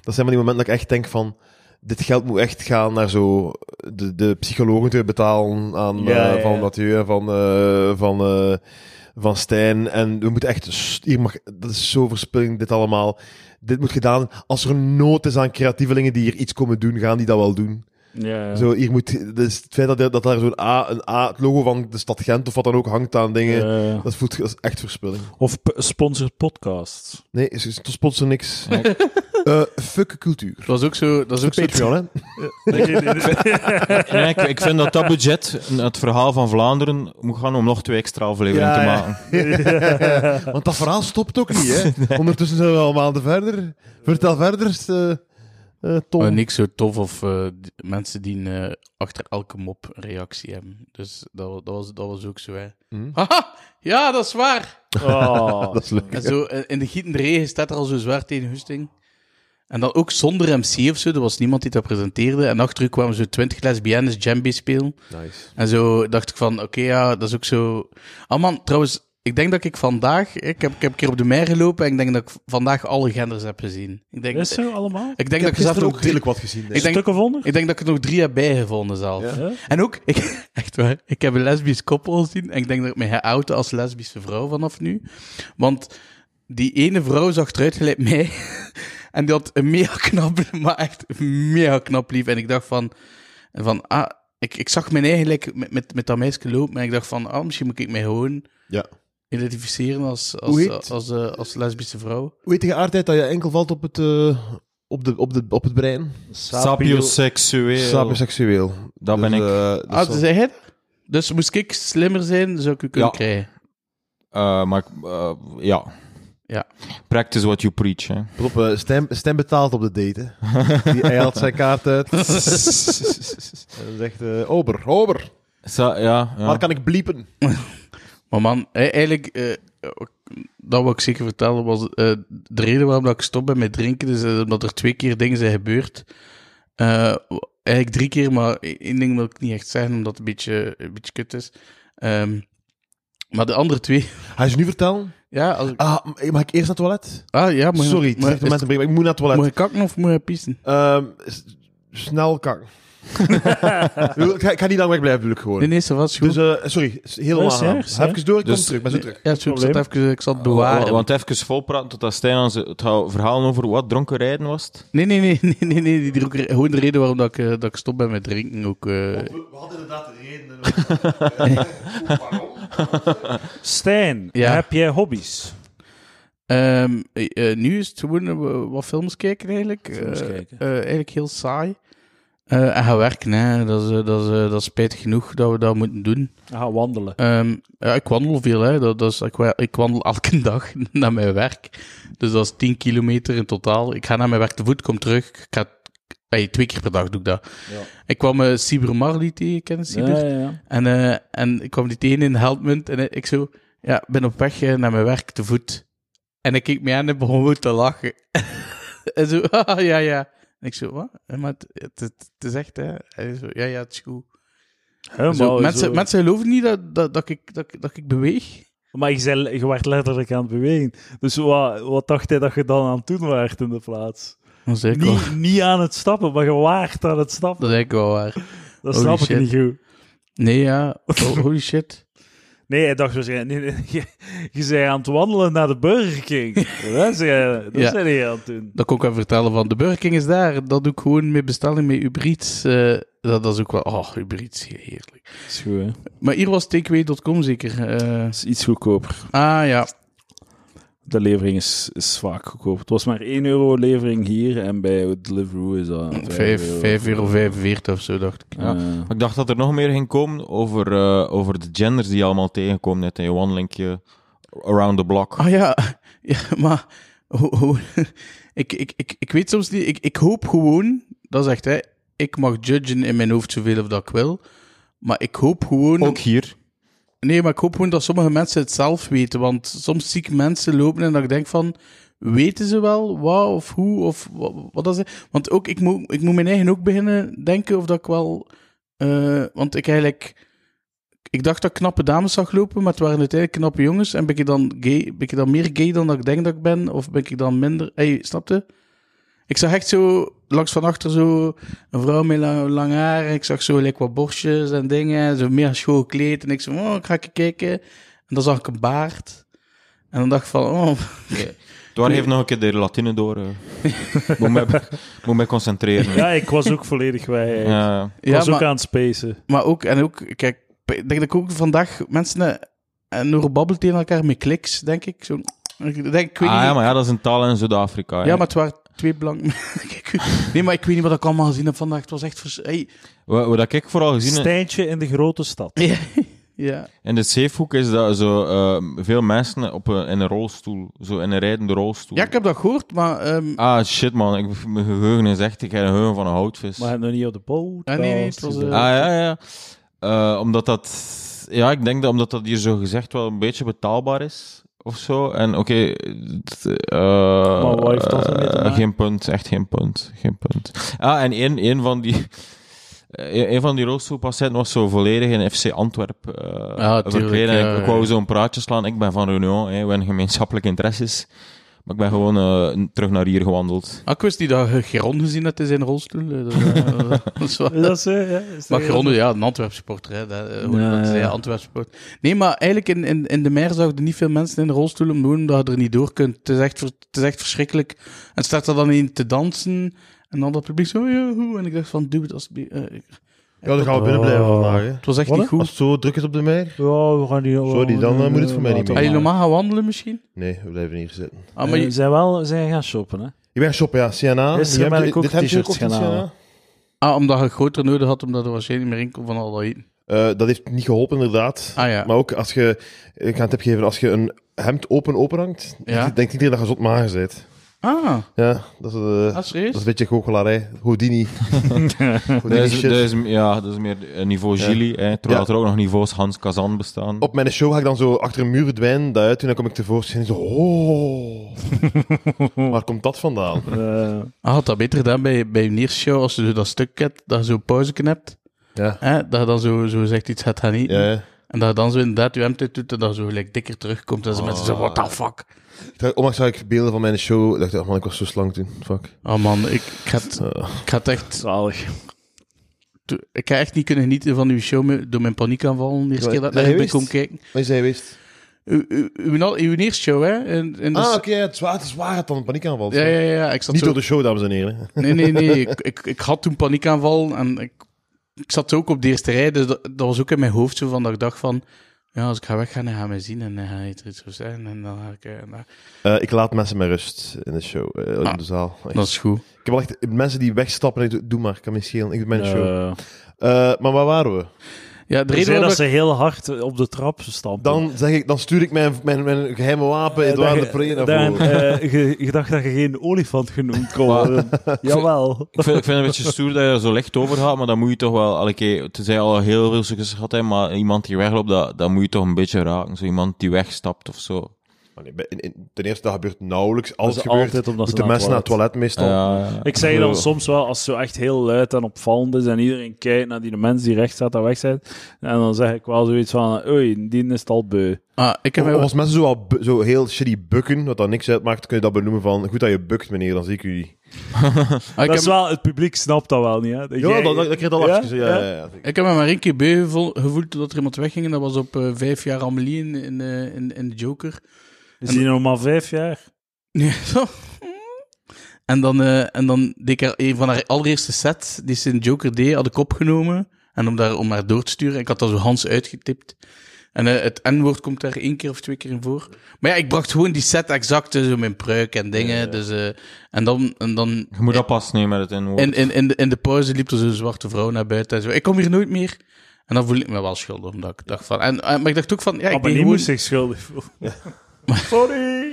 Dat zijn van die momenten dat ik echt denk van... dit geld moet echt gaan naar zo de, de psychologen te betalen aan, Ja, eh, ja, van ja. Mathieu en van, eh, van, eh, van Stijn. En we moeten echt, st- hier mag, dat is zo verspilling, dit allemaal. Dit moet gedaan, als er nood is aan creatievelingen die hier iets komen doen, gaan die dat wel doen. Ja, ja. Zo, hier moet, dus het feit dat, dat daar zo'n A, een A, het logo van de stad Gent of wat dan ook hangt aan dingen, Ja. dat voelt dat is echt verspilling. Of p- sponsored podcasts. Nee, is, is, tot sponsor niks. Eh fuck cultuur. Dat was ook zo. Dat is ook zo Patreon, hè? Nee, ik, ik vind dat dat budget, het verhaal van Vlaanderen, moet gaan om nog twee extra afleveringen Ja, te ja. maken. Want dat verhaal stopt ook niet, hè? Ondertussen zijn we al maanden verder. Vertel verder, eh, eh, Tom. Maar niks zo tof of eh, d- mensen die eh, achter elke mop een reactie hebben. Dus dat, wa- dat, was, dat was ook zo, hè. Hm. Haha, ja, dat is waar. Oh. Dat is leuk. En zo, eh, in de gietende regen staat er al zo zwaar tegen Husting. En dan ook zonder MC of zo, er was niemand die dat presenteerde. En achter u kwamen zo twintig lesbiennes djembe spelen. Nice. En zo dacht ik van, oké, ja, dat is ook zo... Ah man, trouwens, ik denk dat ik vandaag... Ik heb, ik heb een keer op de meer gelopen en ik denk dat ik vandaag alle genders heb gezien. Ik denk, Is zo allemaal? ik denk dat ik heb zelf ook gisteren ook drie, redelijk wat gezien. Ik denk- Stukken vonden? ik denk dat ik er nog drie heb bijgevonden zelf. Ja. Ja. En ook, ik, echt waar, ik heb een lesbisch koppel gezien en ik denk dat ik mij ga outen als lesbische vrouw vanaf nu. Want die ene vrouw zag eruit gelijk mij en die had een mega knap, maar echt mega knap lief. En ik dacht van, van ah, ik, ik zag mij eigenlijk met, met, met dat meisje lopen en ik dacht van, ah, misschien moet ik mij gewoon Ja. identificeren als, als, Hoe als, heet- als, eh, als lesbische vrouw. Weet je aardheid dat je enkel valt op het, eh, op de, op de, op het brein? Sapioseksueel. Sapiseksueel. Dat ben ik. eh, dat Ah, zal- zei hij dat? Dus moest ik slimmer zijn, zou ik u kunnen Ja. krijgen. Eh, maar ik- eh, ja. Ja. Practice what you preach. Hè. Pas op, eh, stem, stem betaalt op de date, hè. Die, hij haalt zijn kaart uit. en dan zegt, eh, ober, ober, Sa- ja, ja. waar kan ik bliepen? Maar man, e- eigenlijk, eh, dat wat ik zeker vertellen was, eh, de reden waarom dat ik stop ben met drinken, is eh, omdat er twee keer dingen zijn gebeurd. Eh, w- eigenlijk drie keer, maar e- één ding wil ik niet echt zeggen, omdat het een beetje, een beetje kut is. Ehm, maar de andere twee, Ga je ze nu vertellen? ja, als ik- Ah, mag ik eerst naar het toilet? ah ja, moet je- Sorry, het moet, is echt een is- moment een break, maar ik moet naar het toilet. moet je kakken of moet je pissen? Ehm, s- snel kak. ik, bedoel, ik ga, ik ga niet lang wegblijven, bedoel ik gewoon. Nee, nee, zo was goed. Dus, eh, sorry, s- helemaal Nee, aan. serieus, hè? Even door, ik Dus- kom terug, maar zo terug. ja, zo, ik, zat probleem. even, ik zat Oh, bewaren. Oh, Want even volpraten totdat Stijn aan zijn- het hou- verhaal over wat dronken rijden was. het. Nee, nee, nee, nee, nee, nee, die druk- gewoon de reden waarom dat ik, eh, dat ik stop ben met drinken ook. eh, Oh. hadden inderdaad de reden. Stijn, Ja. heb jij hobby's? Ehm, eh, eh, nu is het gewoon eh, wat films kijken eigenlijk. Eh, kijken. eh, eigenlijk heel saai. Eh, en gaan werken, hè. Dat, is, eh, dat, is, eh, dat is spijtig genoeg dat we dat moeten doen. Ga wandelen. Ehm, ja, ik wandel veel, hè. Dat, dat is, ik, wa- ik wandel elke dag naar mijn werk. Dus dat is 10 kilometer in totaal. Ik ga naar mijn werk te voet, kom terug. Ik ga, ey, twee keer per dag doe ik dat. Ik kwam eh Cyber Marley tegen, kennen Cyber? Ja, ja, ja. En, eh, en ik kwam die tegen in Helpmunt en ik zo, ja, ben op weg eh, naar mijn werk te voet. En ik keek me aan en begon gewoon te lachen. en zo, ah, ja, ja. En ik zo, wat? Eh, Maar het, het, het- het is echt, hè? Hij zo, ja, ja, het is goed. Hè, Zo, maar, mensen, zo- mensen geloven niet dat, dat, dat, ik, dat, ik- dat ik beweeg. maar je, zei, je werd letterlijk aan het bewegen. Dus wat, wat dacht hij dat je dan aan het doen waart in de plaats? Dat is eigenlijk wel, Niet, niet aan het stappen, maar je waart aan het stappen. dat is eigenlijk wel waar. Dat Holy snap shit. ik niet goed. Nee, ja. Oh, holy shit. Nee, hij dus, dacht waarschijnlijk... Nee, nee, je, je zei aan het wandelen naar de Burger King. dat zei dat Ja. zei hij aan het doen. Dat kon ik wel vertellen van, de Burger King is daar. Dat doe ik gewoon met bestelling met Uber Eats. eh, dat, dat is ook wel, oh, Uber Eats, heerlijk. Is goed, hè. Maar hier was takeaway.com zeker. eh. Is iets goedkoper. Ah ja, De levering is, is vaak goedkoper. Het was maar 1 euro levering hier en bij Deliveroo is dat 5, 5,45 euro 45 of zo dacht ik. Ja. Maar ik dacht dat er nog meer ging komen over, eh, over de genders die je allemaal tegenkomt net in je wandelingje around the block. Ah ja, ja maar ho- ho- ik, ik, ik, ik weet soms niet, ik, ik hoop gewoon, dat is echt hè, ik mag judgen in mijn hoofd zoveel of dat ik wil, maar ik hoop gewoon... Ook hier. Nee, maar ik hoop gewoon dat sommige mensen het zelf weten. Want soms zie ik mensen lopen en dat ik denk van... Weten ze wel wat of hoe of wat, wat dat is? Want ook, ik moet, ik moet mijn eigen ook beginnen denken of dat ik wel... eh, want ik eigenlijk... Ik dacht dat ik knappe dames zag lopen, maar het waren uiteindelijk knappe jongens. En ben ik dan, gay, ben ik dan meer gay dan dat ik denk dat ik ben? Of ben ik dan minder... Hey, snapte? Ik zag echt zo langs van achter zo een vrouw met lang, lang haar. Ik zag zo lekker wat borstjes en dingen. Zo meer schoon kleed. En ik zei, oh, ik ga even kijken. En dan zag ik een baard. En dan dacht ik van, oh, Dwar heeft nog een keer de Latine door. eh. moet, mij, moet mij concentreren. Ja, ik was ook volledig wij. Ik Ja. was ja, ook maar, aan het spacen. maar ook, en ook, kijk, ik denk dat ik ook vandaag mensen eh, en door babbelen tegen elkaar met kliks, denk ik. Zo, ik denk, ik weet niet, Ah ja, maar ja, dat is een taal in Zuid-Afrika. hè. Ja, maar het waren twee blanke... Ik- nee, maar ik weet niet wat ik allemaal gezien heb vandaag. Het was echt... Vers... Hey. Wat, wat ik vooral gezien heb Stijntje in de grote stad. Ja. ja. in de zeefhoek is dat zo, eh, veel mensen op een, in een rolstoel, zo in een rijdende rolstoel. ja, ik heb dat gehoord, maar... ehm, Ah, shit man, ik, mijn geheugen is echt, ik heb een geheugen van een houtvis. Maar nog niet op de boot. Ah, nee, nee, het was, eh, Ah ja, ja. Eh, omdat dat, ja, ik denk dat omdat dat hier zo gezegd wel een beetje betaalbaar is of zo. En oké, t- eh, Maar wat heeft dat ermee te eh, maken? geen punt, echt geen punt, geen punt. Ah, en een, een van die. eh, Een van die rolstoelpatiënten was zo volledig in FC Antwerp eh Ah, tuurlijk, verkleed. En ja, ik, ik ja. wou zo'n praatje slaan. Ik ben van Reunion, hè, we hebben gemeenschappelijke interesses. Maar ik ben gewoon eh, terug naar hier gewandeld. ah, ik wist niet dat je Geron gezien hebt in zijn rolstoel. Eh, Dat, eh, dat is wel- Dat is, eh, ja, is Maar er- Geron, ja, een Antwerp supporter. Hè, dat, eh, hoe Ja, dat, ja. ja, Antwerp supporter. Nee, maar eigenlijk in, in, in de mer zag je niet veel mensen in de rolstoel om doen, omdat je er niet door kunt. Het is echt, ver- het is echt verschrikkelijk. En staat er dan in te dansen, en dan dat publiek zo... "Oh, Ja, hoe? En ik dacht van, doe het alsjeblieft. eh, ik- Ja, dan gaan we binnen blijven vandaag. Hè. het was echt Wat, niet hè? Oh. goed. Als het zo druk is op de mer. Ja, we gaan die... Sorry, dan, eh, moet het voor mij niet meer. Ga Ah, je normaal gaan wandelen misschien? Nee, we blijven hier zitten. Ah, maar je- we zijn Eh, wel we zijn gaan shoppen, hè. Je bent shoppen, ja. CNA. Gisteren Je hebt- ben ik ook dit heb je t-shirts gekocht in gaan CNA? halen. Ah, omdat je groter nodig had, omdat er waarschijnlijk niet meer in kon van al dat eten. Eh, dat heeft niet geholpen, inderdaad. Ah ja. Maar ook als je, ik ga een tip geven, als je een hemd open openhangt, Ja. denkt iedereen dat je zot mager bent. Ah, Ja, dat is, eh, dat is serieus? dat is een beetje goochelarij. Houdini. Houdini Dat is, shit. dat is, ja, dat is meer eh, niveau Gili, hè, terwijl Ja. er ook nog niveaus Hans Kazan bestaan. Op mijn show ga ik dan zo achter een muur verdwijnen, daaruit, en dan kom ik tevoorschijn en zo, oh. Waar komt dat vandaan? Eh, Ah, had dat beter gedaan bij, bij je eerste show, als je zo dat stuk hebt, dat je zo pauze knipt. Ja. Hè, dat je dan zo, zo zegt iets gaat gaan eten. Ja, ja. En dat je dan zo inderdaad je hemd uit doet en dat zo gelijk dikker terugkomt. En ze mensen zo, what the fuck? Ik dacht- Onlangs zag ik beelden van mijn show, Ik dacht oh man, ik was zo slank toen, fuck. Oh man, ik, ik, had, ik, had echt, zalig. ik ga echt niet kunnen genieten van uw show me- door mijn paniekaanval. De eerste Ja, keer dat nee, ik erbij wist. kom kijken. Maar je zei, wist. Uw, uw, uw, uw eerste show, hè? In, in de Ah, s- oké, ja, het is waar, het is waar, het dan een paniekaanval. ja, ja, ja, ik zat Niet zo... door de show, dames en heren. Nee, nee, nee. Ik, ik, ik had toen paniekaanval en ik, ik zat ook op de eerste rij. Dus dat, dat was ook in mijn hoofd zo van dat ik dacht van... Ja, als ik ga weggaan, dan gaan mij zien en dan gaat hij er iets over zijn. En dan ga ik... eh, nou, Eh, ik laat mensen met rust in de show, eh, in Ah, de zaal. Echt. dat is goed. Ik heb wel echt mensen die wegstappen en ik doe, doe maar, ik kan me niet schelen, ik doe mijn show. Eh, Eh, maar waar waren we? Ja, de Ze reden zei waarom dat ik- ze heel hard op de trap stampen. Dan, zeg ik, dan stuur ik mijn, mijn, mijn geheime wapen, Eh, Edouard dat de je- Pre naar dan, voren. eh, je, je dacht dat je geen olifant genoemd kon worden. Jawel. Ik, vind, ik vind het een beetje stoer dat je er zo licht over gaat, maar dan moet je toch wel, elke keer, tenzij je al heel veel succes gehad hebt, maar iemand die wegloopt, dat, dat moet je toch een beetje raken. Zo iemand die wegstapt of zo. Maar nee, bij- in- in- ten eerste, dat gebeurt nauwelijks. Als Dat het is gebeurt, altijd omdat ze moeten naar mensen het naar het toilet meestal. Ja, Ik zeg je dan soms wel, als het zo echt heel luid en opvallend is en iedereen kijkt naar die mens die recht staat en weg zijn, en dan zeg ik wel zoiets van, oei, die is het al beu. Ah, ik heb Of, Oh, mij... of als mensen zo, al bu- zo heel shitty bukken, wat dan niks uitmaakt, kun je dat benoemen van, goed dat je bukt, meneer, dan zie ik jullie. ah, ik, Dat heb, is wel, het publiek snapt dat wel niet, hè. Dat Ja, jij- dat, dat, dat krijg je al Ja? af. Ja, ja, ja. ik heb me maar één keer beu gevoel- gevoeld toen er iemand wegging. En dat was op eh, vijf jaar Amelie in, in, eh, in, in de Joker. Is die nog maar vijf jaar? Ja, zo. En dan, eh, en dan deed ik haar, een van haar allereerste sets, die ze in Joker D had ik opgenomen. En om, daar, om haar door te sturen, ik had dat zo Hans uitgetipt. En eh, het N-woord komt daar één keer of twee keer in voor. Maar ja, ik bracht gewoon die set exact, eh, zo mijn pruik en dingen. Dus, eh, en dan, en dan Je moet dat pas nemen met het inwoord. in, in, in, de, in de pauze liep er zo'n zwarte vrouw naar buiten. En zo, ik kom hier nooit meer. En dan voel ik me wel schuldig, omdat ik dacht van... En, eh, maar ik dacht ook van, Ah, ja, ik maar deed die gewoon... moest zich schuldig voelen. Sorry!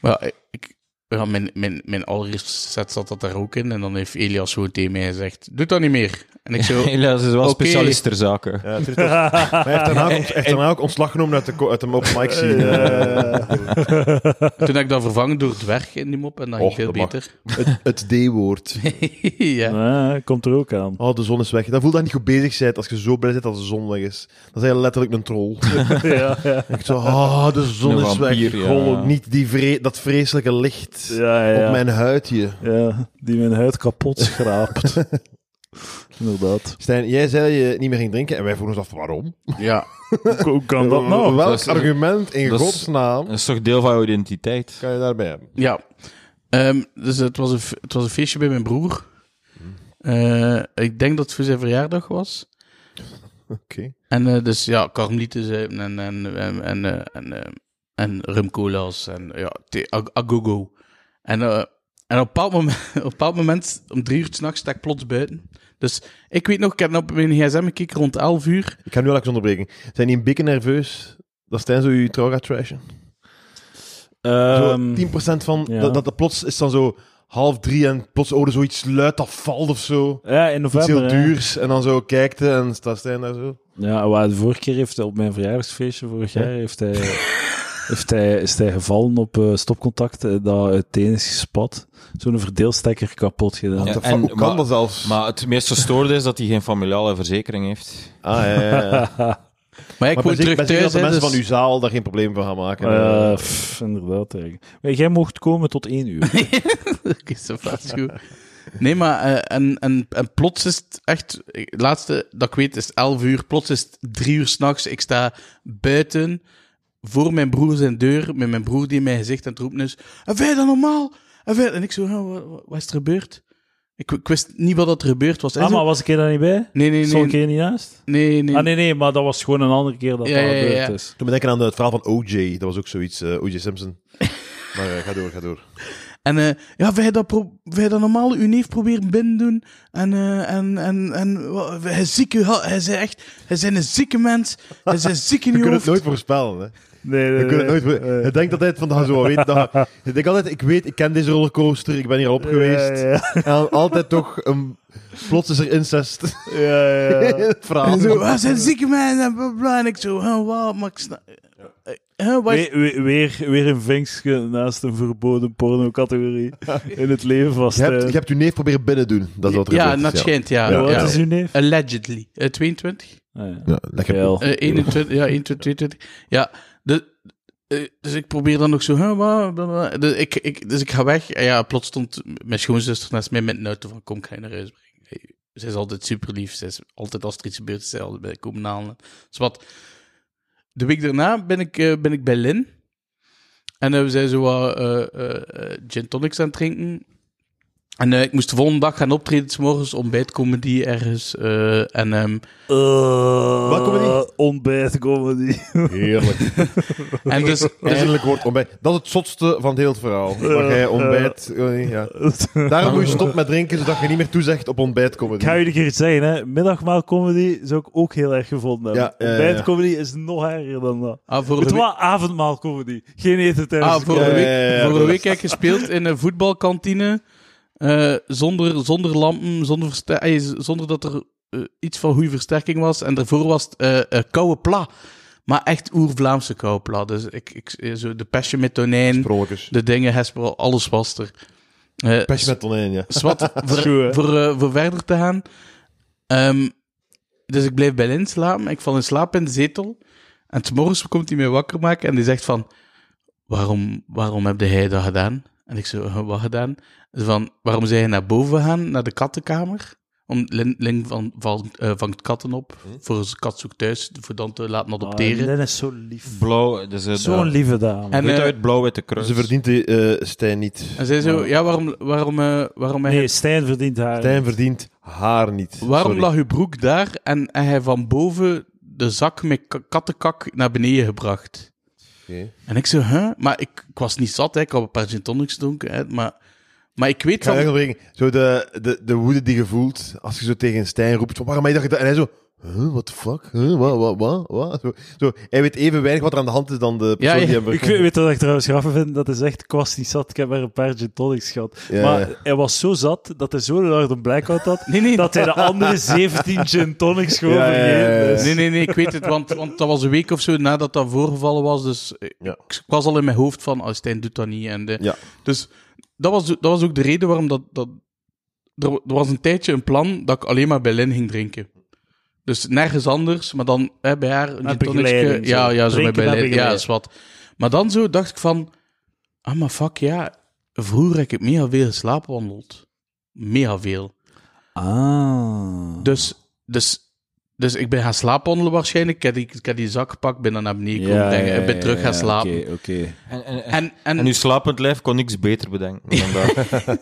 Maar ja, ik, ja, mijn, mijn, mijn allereerste set zat dat daar ook in. En dan heeft Elias zo tegen mij gezegd: Doe dat niet meer. En ik zo. Helaas is wel Oké. specialist ter zaken. Ja, het is toch- maar hij heeft daarna, ook- hij heeft daarna ook ontslag genomen uit de, ko- uit de open mic scene. eh. toen heb ik dat vervangen door dwerg in die mop. En dat ging Och, veel dat mag. beter. het het D-woord. ja. Ah, komt er ook aan. Oh, de zon is weg. Dan voel je dat je niet goed bezig bent als je zo blij bent dat de zon weg is. Dan ben je letterlijk een troll. ja, ja. Echt zo, ah, de zon Een is vampier, weg. ja. Gollum, Niet die vre- dat vreselijke licht. ligt Ja, ja, op ja. mijn huidje. Ja, die mijn huid kapot schraapt. Inderdaad. Stijn, jij zei dat je niet meer ging drinken en wij vroegen ons af waarom. Ja. Hoe kan dat nou? Welk dat is- argument in dat is- godsnaam Dat is toch deel van jouw identiteit? kan je daarbij hebben? Ja. Ehm, dus het was, een, f- het was een feestje bij mijn broer. Eh, ik denk dat het voor zijn verjaardag was. Oké. En eh, dus ja, karmelieten zuipen en, en, en, en, eh, en, eh, en rumcola's en ja, thee- a- agogo. En, eh, en op, een bepaald moment, op een bepaald moment, om drie uur s'nachts, sta ik plots buiten. Dus ik weet nog, ik heb op mijn gsm gekeken rond 11 uur. Ik ga nu wel even onderbreken. Zijn die een beetje nerveus dat Stijn zo je trouw gaat trashen? Ehm, zo 10% van... ja. Dat, dat, dat plots is dan zo half drie en plots hoorde zoiets luid dat valt of zo. ja, in Iets november. heel hè. duurs. En dan zo kijkt hij en staat Stijn daar zo. Ja, waar de vorige keer heeft hij op mijn verjaardagsfeestje vorig jaar heeft hij, heeft hij, is hij gevallen op eh, stopcontact eh, dat uiteen is gespat. Zo'n verdeelstekker kapot gedaan. Ja, What the en- fuck, hoe kan maar- dat zelfs? Maar het meest verstoorde is dat hij geen familiale verzekering heeft. ah, ja, ja, ja. Maar ik Maar word ben zeker- terug ben zeker dat thuis. de hè, mensen dus- van uw zaal daar geen probleem van gaan maken. Eh, pff, inderdaad. eigenlijk. Maar jij mocht komen tot één uur. Oké, zo dat is goed. Nee, maar eh, en, en, en plots is het echt, het laatste dat ik weet is 11 uur, plots is het 3 uur s'nachts. Ik sta buiten voor mijn broer zijn deur, met mijn broer die in mijn gezicht aan het roepen is: En vind je dat normaal? En, vind je- en ik zo, "Ja, wa- wa- wat, is er gebeurd? Ik, ik wist niet wat er gebeurd was. Hij Ah, zo, maar was ik er dan niet bij? nee, nee, nee. Stond ik er niet naast? Nee, nee. Ah, nee, nee, maar dat was gewoon een andere keer dat Ja, dat ja, ja, gebeurd ja. is. Toen me denken aan het verhaal van OJ. Dat was ook zoiets. eh, OJ Simpson. Maar eh, ga door, ga door. En eh, ja, vind je dat, pro- vind je dat normaal uw neef proberen binnen doen? En, eh, en, en, en wa- hij is ziek, hij is echt, hij is een zieke mens, hij is een ziek in Je je kunt het hoofd. nooit voorspellen. Hè. Nee, nee, Je kunt het nooit nee. voorspellen. Je denkt altijd van, dat je zo wel weet. Dat, je- je denkt altijd, ik weet, ik ken deze rollercoaster. Ik ben hier al op geweest. Ja, ja, En dan altijd toch, een, plots is er incest. ja, ja, ja. Het verhaal. En zo, ah, zijn zieke mensen en bla, bla. En ik zo, huh, wow, maar ik snap... eh, huh, wat is- We- we- weer, weer een vinkje naast een verboden porno-categorie in het leven vast. Je hebt, je hebt je neef proberen binnen doen. Dat is wat er ja, gebeurd dat is, schijnt, ja. Ja, Wat ja. is uw neef? Allegedly. Eh, 22? Ah, ja. Ja, lekker. Geil. Eh, 21, ja, 21, 22. Ja, de, eh, dus ik probeer dan ook zo, huh, wow, bla, bla. Dus ik, ik, dus ik ga weg. En ja, plots stond mijn schoonzuster naast mij met een auto van, kom, ik ga je naar huis brengen. Hey, Zij is altijd super lief. Zij is altijd, als er iets gebeurt, is zij altijd bij komen halen. Dus wat... De week daarna ben ik, eh, ben ik bij Lin. En eh, we zijn zo wat eh, eh, eh, gin tonics aan het drinken. En eh, ik moest de volgende dag gaan optreden, 's morgens ontbijtcomedy ergens. eh, en ehm, Wat comedy? Ontbijtcomedy. Heerlijk. En dus, Eindelijk wordt ontbijt. Dat is het zotste van het hele verhaal. Maar jij ontbijt... eh, ja. Daarom moet je stoppen met drinken, zodat je niet meer toezegt op Ik ga ontbijtcomedy. jullie een keer zeggen, hè. middagmaalcomedy zou ik ook heel erg gevonden hebben. Ja, ja, ja. Ontbijtcomedy is nog erger dan dat. ah, voor Het de, was avondmaalcomedy. Geen eten week- tijdens ah, voor Ja, de ja, week, ja, ja, voor de dat week heb ik gespeeld in een voetbalkantine. eh, zonder, zonder lampen, zonder, verster- eh, z- zonder dat er eh, iets van goede versterking was. En daarvoor was het eh eh, koude pla. Maar echt oer-Vlaamse koude pla. Dus ik, ik, eh, zo de pesje met tonijn, Sprolletjes. de dingen, hesperol, alles was er. Eh, Pesje met tonijn, ja. Zwat, voor, goed, hè? voor, eh, voor verder te gaan. Ehm, dus ik blijf bij Lin slapen. Ik val in slaap in de zetel. En 's morgens komt hij mij wakker maken en die zegt van... Waarom, waarom heb jij dat gedaan? En ik zo, "Eh, wat gedaan? Ze van, waarom zijn je naar boven gaan, naar de kattenkamer? Om Lin, Lin van, van, eh, vangt katten op. Hm? Voor zijn kat zoekt thuis, voor dan te laten adopteren. dat is zo lief. Blauw, dus het Zo'n lieve dame. en, Goed eh, uit blauw-witte kruis. Ze verdient die eh, Stijn niet. en zij zo, ja, waarom, waarom, eh, waarom heb je Nee, Stijn verdient haar. Stijn verdient haar niet. Waarom Sorry. lag uw broek daar en en hij van boven de zak met k- kattenkak naar beneden gebracht? Oké. En ik zo, huh? Maar ik, ik was niet zat, hè. ik had een paar gin tonics gedronken, hè. Maar, maar ik weet Ik ga van... echt onderbreken. Zo de, de, de woede die je voelt als je zo tegen Stijn roept van waarom heb je dat gedaan? En hij zo, huh, what the fuck? Huh, wat, wat, wat, wat? Zo, zo, hij weet even weinig wat er aan de hand is dan de persoon Ja, ja. die hem Ik verkocht. weet, weet wat ik trouwens grappig vind, dat is echt, ik was niet zat, ik heb maar een paar gin tonics gehad. Ja, maar ja. hij was zo zat, dat hij zo'n harde blackout had, Nee, nee. dat hij de andere 17 gin tonics gewoon Ja, ja, ja, ja. vergeten is. Nee, nee, nee, ik weet het, want, want dat was een week of zo nadat dat voorgevallen was, dus eh, Ja. ik, ik was al in mijn hoofd van, oh, Stijn doet dat niet. En de, Ja. Dus dat was, dat was ook de reden waarom dat... dat er, er was een tijdje een plan dat ik alleen maar bij Lin ging drinken. Dus nergens anders, maar dan hè, bij haar een Met gin tonicje. begeleiding, zo. Ja, ja, zo met Drinken met begeleiding. Ja, begeleiding. is wat. Maar dan zo dacht ik van... Ah, maar fuck, ja. vroeger heb ik mega veel geslaapwandeld. Mega veel. Ah. Dus, dus, dus ik ben gaan slaapwandelen waarschijnlijk. Ik heb die, ik heb die zak gepakt, ben dan naar beneden komen brengen. ik ben terug gaan slapen. Oké, oké. En, en, en, En, en, en uw slapend lijf kon niks beter bedenken dan dat.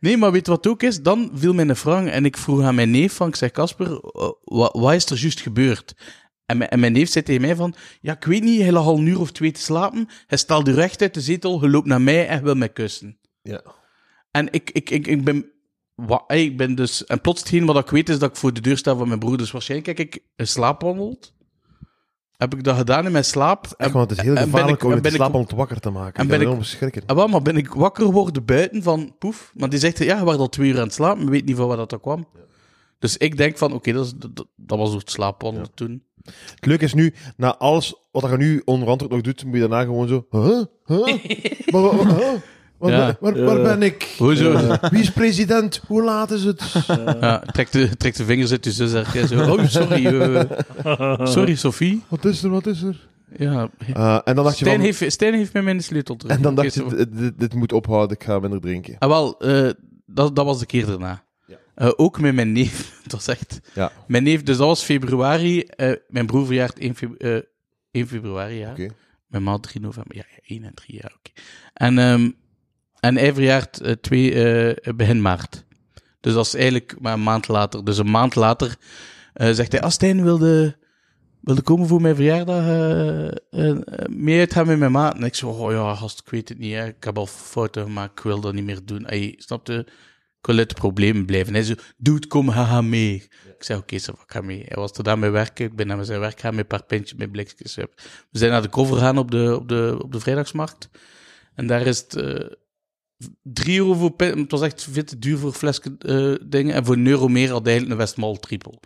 Nee, maar weet je wat ook is? Dan viel mijn Frank en ik vroeg aan mijn neef van, ik zeg, Casper, wat, wat is er juist gebeurd? En, mijn- en mijn neef zei tegen mij van, ja, ik weet niet, hij lag al een uur of twee te slapen, hij stelde u recht uit de zetel, hij loopt naar mij en wil mij kussen. Ja. En ik, ik, ik, ik ben... Wat, ey, ik ben dus... En plots hetgeen wat ik weet is dat ik voor de deur sta van mijn broer. Dus waarschijnlijk heb ik geslaapwandeld. Heb ik dat gedaan in mijn slaap. En, Echt, want het is heel en ben gevaarlijk ik- om en je te ben ik- slapen om het wakker te maken. en En ben ben ik- enorm verschrikken. Ah, wel, maar ben ik wakker worden buiten van poef. Maar die zegt, ja, je was al twee uur aan het slapen, je weet niet van waar dat dan kwam. Dus ik denk van, oké, dat, is- dat, dat was het slaapwandelen toen. Het leuke is nu, na alles wat je nu onderantwoord nog doet, moet je daarna gewoon zo... Huh? Huh? Maar wa- wa- huh? Waar, Ja. ben- waar, waar Eh. ben ik? Hoezo? Eh, Wie is president? Hoe laat is het? Ja, trek, de, trek de vingers uit je zus haar keer zo. Oh, sorry. eh, sorry, Sophie. Wat is er? Wat is er? Ja. Eh, en dan dacht je Stijn, van... heeft, Stijn heeft mij mijn sleutel terug. En dan dacht Oké, je, dit, dit- dit moet ophouden, ik ga minder drinken. Ah, wel, eh, dat, dat was de keer daarna. Eh, ook met mijn neef. Dat was echt... Ja. Mijn neef, dus dat was februari. Eh, mijn broer verjaart 1, feb- eh, 1 februari, ja. Oké. Mijn ma 3 november. Ja, ja, 1 en 3, ja, oké. En, ehm, en hij verjaart eh, 2 eh, begin maart. Dus dat is eigenlijk maar een maand later. Dus een maand later eh, zegt hij... Astijn wilde... Wilde komen voor mijn verjaardag eh, eh, eh, mee uitgaan met mijn maat. En ik zo, oh ja, gast, ik weet het niet. Hè. Ik heb al fouten gemaakt, ik wil dat niet meer doen. Hey, snapte? Ik wil uit de problemen blijven. Hij zo, dude, kom, haha, mee. Ik zei, oké, zo, ik ga mee. Hij was tot aan mijn werk. Ik ben naar zijn werk gaan met een paar pintjes, met blikjes. We zijn naar de cover gaan op de, op de, op de vrijdagsmarkt. En daar is het... eh, Drie euro voor pint, het was echt veel te duur voor flesken eh, dingen. En voor een euro meer had hij eigenlijk een Westmal triple.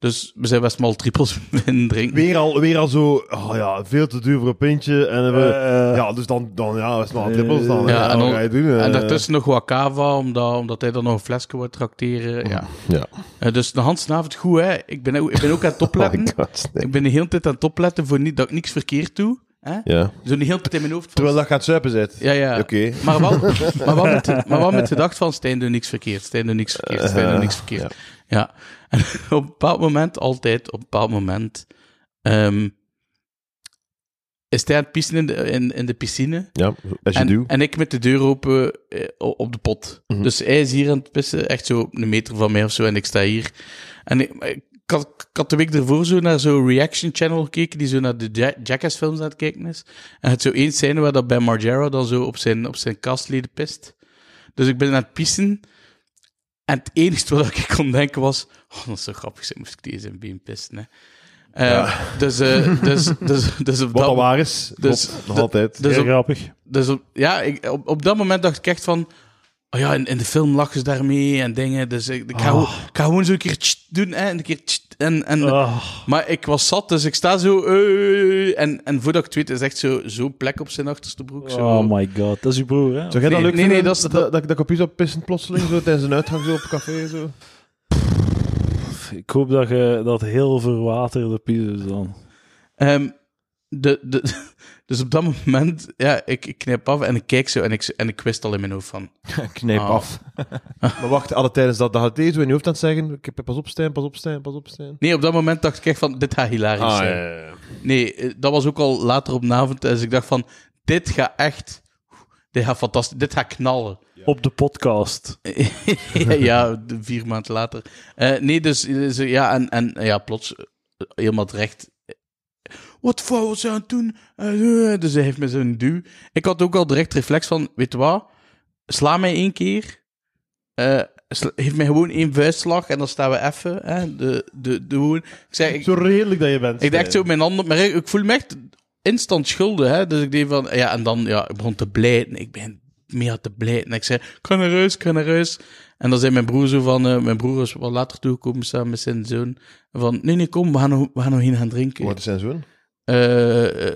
Dus we zijn Westmal triples in drinken. Weer al, weer al zo, oh ja, veel te duur voor een pintje. En we, Eh, ja, dus dan, dan ja, is maar trippels dan. Ja, Ja, en en dan- ga je doen? eh? En daartussen nog wat cava, omdat, omdat hij dan nog een flesje wil tracteren. Ja. Ja. Eh, dus de handsenavond goed, hè. Ik ben, ook- ik ben ook aan het Oh opletten. my god, nee. ik ben de hele tijd aan het opletten voor niet, dat ik niks verkeerd doe. Hè? Ja. Zo de hele tijd in mijn hoofd. Van, Terwijl dat gaat zuipen zit. ja, ja. Oké. Maar wel, maar, wel met, maar wel met de gedachte van Stijn doet niks verkeerd, Stijn doet niks verkeerd, Stijn Eh, doet niks verkeerd. ja. En op een bepaald moment, altijd, op een bepaald moment, ehm, is hij aan het pissen in de, in, in de piscine. Ja, as you En, do. en ik met de deur open eh, o- op de pot. Mhm. Dus hij is hier aan het pissen, echt zo een meter van mij of zo, en ik sta hier. En ik, ik, had, ik had de week ervoor zo naar zo'n reaction channel gekeken, die zo naar de Ja- Jackass films aan het kijken is. En het zo één scène waar dat Ben Margera dan zo op zijn, op zijn kastleden pist. Dus ik ben aan het pissen. En het enige wat ik kon denken was... Oh, dat is zo grappig, zeg, moest ik deze in been pissen, hè. Eh, dus, eh, dus, dus, dus op Wat dat al waar is, dus- klopt, nog altijd. dus heel op- grappig. dus op, ja, ik, op, op dat moment dacht ik echt van... Oh ja, in, in de film lachen ze daarmee en dingen. Dus ik, ik, ga, gewoon- ik ga gewoon zo een keer tst doen. Hè, en een keer tst, en, en, Ah. Maar ik was zat, dus ik sta zo... eh, en, en voordat ik het weet, is echt zo- zo'n plek op zijn achterste broek. Zo. Oh my god, dat is uw broer, hè? Zou jij dat Nee, leuk nee, nee, vinden, dat is- dat, dat, dat computer pissen plotseling zo tijdens een uitgang zo op café zo? Ik hoop dat je dat heel verwaterde pizza's dan. Ehm, de, de, dus op dat moment, ja, ik, ik knip af en ik kijk zo en ik, en ik wist al in mijn hoofd van... Knijp Ah. af. Maar wacht, alle tijdens dat, dat had hij zo in je hoofd aan het zeggen, ik heb pas op Stijn, pas op Stijn, pas op Stijn. Nee, op dat moment dacht ik echt van, dit gaat hilarisch Ah, zijn. ja, ja, ja. Nee, eh, dat was ook al later op de avond. Dus ik dacht van, dit gaat echt... Dit gaat fantastisch. Dit gaat knallen. Op de podcast. ja, de- vier maanden later. Eh, nee, dus, dus, eh, ja, en, en eh, ja, plots eh, helemaal terecht. Wat voor was hij aan het doen? Eh, eh, dus hij heeft me zo'n duw. Ik had ook al direct reflex van, weet je wat? Sla mij één keer. Eh, sla- geef mij gewoon één vuistslag en dan staan we even. Hè, de, de, de, gewoon- ik zeg, ik, Zo redelijk dat je bent. ik dacht Stijn. zo, mijn handen... Maar ik, ik voel me echt instant schuldig, hè. Dus ik deed van... Ja, en dan... Ja, ik begon te blijten. Ik ben meer te blijten. Ik zei, ik ga naar huis, ik ga naar huis. En dan zei mijn broer zo van... eh, mijn broer is wat later toegekomen samen met zijn zoon. Van, nee, nee, kom, we gaan, nog- we gaan nog heen gaan drinken. Wat is zijn zoon? Eh, eh,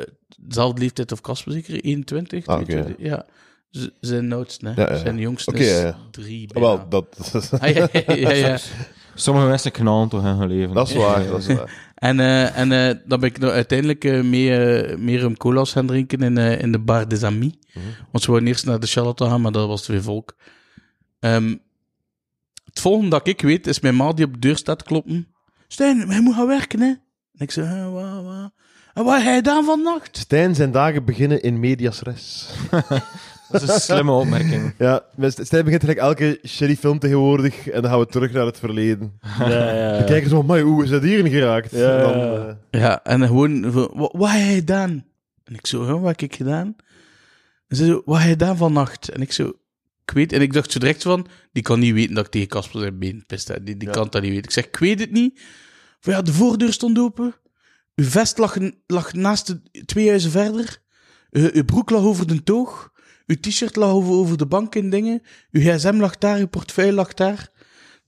Zelfde leeftijd of Casper zeker? 21? Ah, oké. 22, Ja. Z- zijn oudste, hè. Ja, Ah, ja, ja. Zijn jongste Oké, is ja, ja. drie Wel, dat... Ah, ja, ja, ja, ja. Sommige mensen knallen toch in hun leven. Dat is waar, dat is waar. En, eh, en eh, dan ben ik nou uiteindelijk eh, mee, eh, meer een cola's gaan drinken in, eh, in de Bar des Amis. Want ze wouden eerst naar de Charlotte gaan, maar dat was te veel volk. Ehm, het volgende dat ik weet, is mijn ma die op de deur staat kloppen. Stijn, wij moeten gaan werken, hè? En ik zeg, "Eh, wa, wa. En wat ga je dan vannacht? Stijn, zijn dagen beginnen in medias res. Dat is een slimme opmerking. Ja, maar St- Stijn begint eigenlijk elke shitty film tegenwoordig en dan gaan we terug naar het verleden. Ja, ja, We ja. kijken zo, "Amai, hoe is dat hierin geraakt? Ja, En dan, ja, ja. eh, Ja, en gewoon, van, "Wa- wat heb je gedaan? En ik zo, "Ja, wat heb ik gedaan? En ze zo, wat heb je gedaan vannacht? En ik zo, ik weet, en ik dacht zo direct van, die kan niet weten dat ik tegen Kasper zijn been pist. hè. Die, die kan dat niet weten. Ik zeg, ik weet het niet. Van ja, de voordeur stond open. Uw vest lag, lag naast de twee huizen verder. Eh, uw broek lag over de toog. Uw t-shirt lag over, over de bank en dingen. Uw gsm lag daar, uw portefeuille lag daar.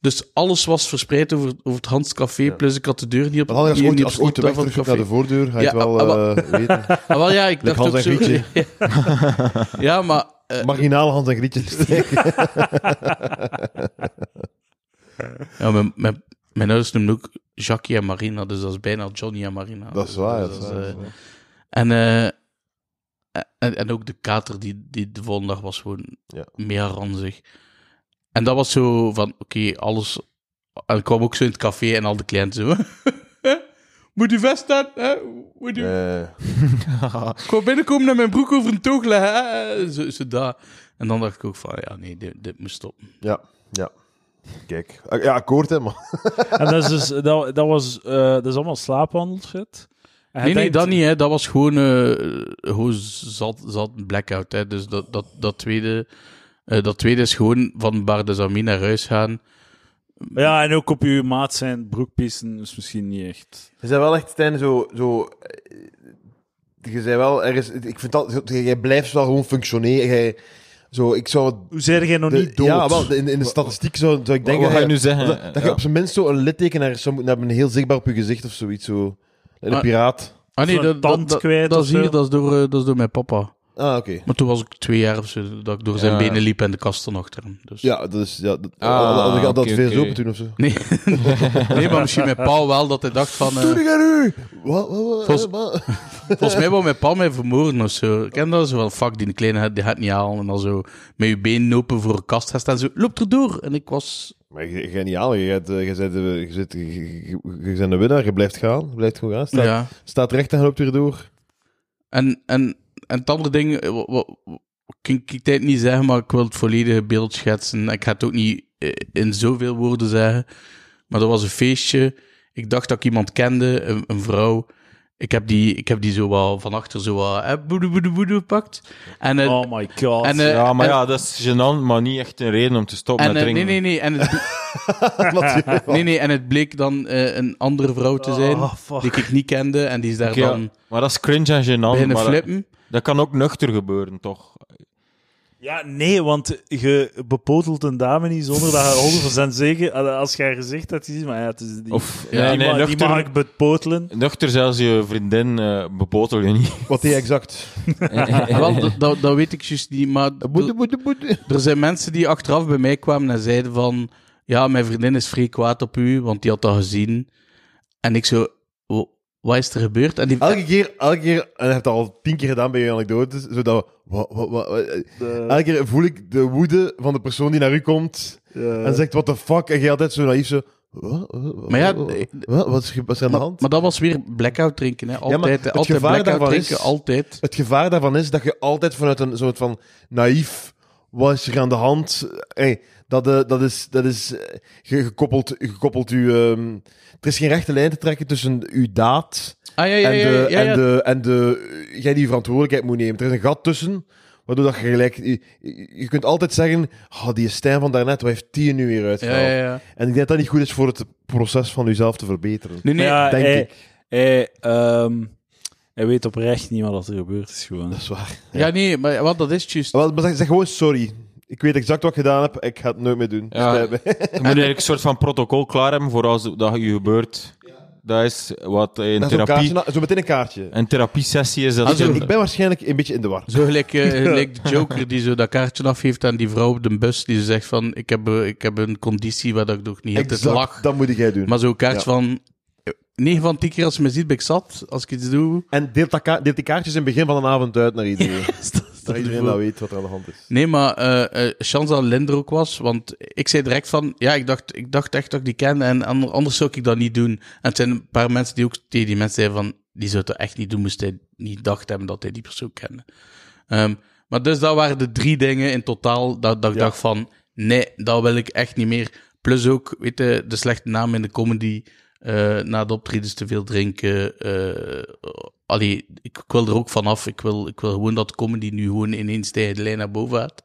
Dus alles was verspreid over, over het Hans Café, plus ik had de deur niet op Maar als je niet ooit, op als je slot ooit de weg van het terug naar de café. voordeur, ga je Ja, het wel ah, ah, eh, weten. Ah, wel, ja, ik dacht Hans ook en zo. Grietje. ja, maar... eh, Marginale Hans en Grietje. ja, mijn, mijn, mijn ouders noemen ook Jackie en Marina, dus dat is bijna Johnny en Marina. Dat is Dus waar, dat dat is, is waar, eh, dat is En, eh, en, en ook de kater die, die de volgende dag was gewoon Ja. meer ranzig. En dat was zo van, oké, alles... En ik kwam ook zo in het café en al de cliënten zo... Moet u vest aan? Hè? Moet u... Eh, Ik wou binnenkomen en mijn broek over een toog leggen. hè? Zo, zo dat. En dan dacht ik ook van, ja, nee, dit, dit moet stoppen. ja, ja. Kijk. Ah, Ja, akkoord, hè, man. En dat is dus, dat, dat was, eh, dat is allemaal slaapwandelshit. En je nee, nee, denkt- dat niet. Hè. Dat was gewoon, eh, gewoon zat, zat een blackout. Hè. Dus dat, dat, dat, tweede, eh, dat tweede is gewoon van Bar de Zamie naar huis gaan. Ja, en ook op je maat zijn broekpissen is misschien niet echt. Je bent wel echt, Stijn, zo... zo eh, je bent wel ergens... Ik vind dat... Jij blijft wel gewoon functioneren. Jij, zo, ik zou... Hoe zijn jij nog de- niet dood? Ja, wel, in, in de statistiek zou, zou ik Wat- denken... wat ga je dat nu zeggen? Dat, dat Ja. je op zijn minst zo een litteken naar zou moeten hebben, heel zichtbaar op je gezicht of zoiets. Zo. En een Ah. piraat. Ah nee, Zo'n dat, tand dat, dat, kwijt dat of is zo. hier, dat is, door, eh, dat is door mijn papa. Ah, oké. Maar toen was ik twee jaar of zo, dat ik door zijn Ja. benen liep en de kasten achter hem. Dus. Ja, dat is... Ja, dat, Ah, had- had ik dat oké, veel oké. open toen of zo. Nee. nee, maar misschien met Paul wel, dat hij dacht van... eh, Doe ik aan u! Wat, wat, wat, Volgens- wat? Volgens mij wou mijn pa mij vermoorden of zo. Ik ken dat zo wel. Fuck, die kleine gaat- die gaat niet halen. En dan zo met je been open voor een kast gaan staan. Zo, loop erdoor. En ik was... Maar ge- geniaal, je, gaat, eh, je, bent, eh, je, zit, je, je- je bent de winnaar, je blijft gaan, je blijft gewoon gaan. Staat, Ja. staat recht en loopt weer door. En, en, en het andere ding... eh, wa- wa- wa- Ik kan ik tijd niet zeggen, maar ik wil het volledige beeld schetsen. Ik ga het ook niet eh, in zoveel woorden zeggen. Maar er was een feestje. Ik dacht dat ik iemand kende, een, een vrouw. Ik heb die, ik heb die zo wel van achter zo wel... eh, boede, boede, boede gepakt. En, eh, Oh my god. en, eh, ja, maar en- ja, dat is gênant, maar niet echt een reden om te stoppen en, met eh, nee, drinken. nee, nee. En het, Natuurlijk. Nee, nee, en het bleek dan eh, een andere vrouw te zijn, Oh, fuck. die ik niet kende, en die is daar Oké, ja, dan Maar dat is cringe en gênant. beginnen Maar dat, flippen. dat kan ook nuchter gebeuren, toch? Ja, nee, want je bepotelt een dame niet zonder dat je 100% zeker... Als je haar gezicht had gezien, maar ja, het is die... Of die nee, nee, ma- die nuchter, mag ik bepotelen. nuchter zelfs je vriendin eh, bepotel je niet. Wat hij exact. Wel, dat, dat, dat weet ik juist niet, maar Boede, er- boede, boede. er zijn mensen die achteraf bij mij kwamen en zeiden van, ja, mijn vriendin is vrij kwaad op u, want die had dat gezien. En ik zo, "Wa- wat is er gebeurd? En die, Elke keer, elke keer, en hij heeft dat al tien keer gedaan bij je anekdotes, zodat, wat, wat, wat, wat- eh, elke keer voel ik de woede van de persoon die naar u komt en zegt, what the fuck, en jij altijd zo naïef zo, wat, wat, Maar ja, wat, eh, wat, wat is er- wat is er aan de maar, hand? maar dat was weer blackout drinken, hè. maar altijd, hè. het altijd gevaar blackout daarvan is- drinken, altijd. Het gevaar daarvan is dat je altijd vanuit een soort van naïef, wat is er aan de hand? Hey, dat, eh, dat is, dat is eh, ge- gekoppeld, gekoppeld u, ehm, er is geen rechte lijn te trekken tussen uw daad Ah, ja, ja, en ja, de, ja, ja, en de, en de, eh, jij die je verantwoordelijkheid moet nemen. Er is een gat tussen, waardoor dat je gelijk, je, je kunt altijd zeggen, ah, die Stijn van daarnet, wat heeft die nu weer ja, uitgehaald? ja, ja. En ik denk dat dat niet goed is voor het proces van uzelf te verbeteren. Nee, nee, ja, denk hij, ik. Hij, ehm, hij weet oprecht niet wat er gebeurd is, gewoon. Dat is waar. ja, nee, maar wat dat is juist. Wel, Maar zeg, zeg gewoon sorry. Ik weet exact wat ik gedaan heb. Ik ga het nooit meer doen. Ja. Spijt me. Je moet eigenlijk een soort van protocol klaar hebben voor als dat je gebeurt. Dat is wat in Dat is zo'n therapie... kaartje na- zo meteen een kaartje. Een therapiesessie is dat... Dus veel- ik ben waarschijnlijk een beetje in de war. Zo gelijk, eh, gelijk de Joker die zo dat kaartje afgeeft aan die vrouw op de bus. Die zo zegt van, ik heb, eh, ik heb een conditie waar dat ik nog niet heb. Het is Exact, lach. dat moet jij doen. Maar zo'n kaartje Ja. van... 9 van 10 keer als je me ziet ben ik zat. Als ik iets doe... En deelt, dat ka- deelt die kaartjes in het begin van de avond uit naar iedereen. dat iedereen dat weet wat er aan de hand is. Nee, maar eh eh chance dat Lin er ook was. Want ik zei direct van... Ja, ik dacht, ik dacht echt dat ik die kende. En ander- anders zou ik dat niet doen. En het zijn een paar mensen die ook tegen die mensen zeiden van... Die zou het echt niet doen, moest hij niet gedacht hebben dat hij die persoon kende. Ehm, maar dus dat waren de drie dingen in totaal dat, dat ik dacht van... Nee, dat wil ik echt niet meer. Plus ook, weet je, de slechte naam in de comedy... eh, na de optredens te veel drinken. eh, allee, ik, ik wil er ook vanaf. Ik wil, ik wil gewoon dat comedy nu gewoon ineens tegen de lijn naar boven gaat.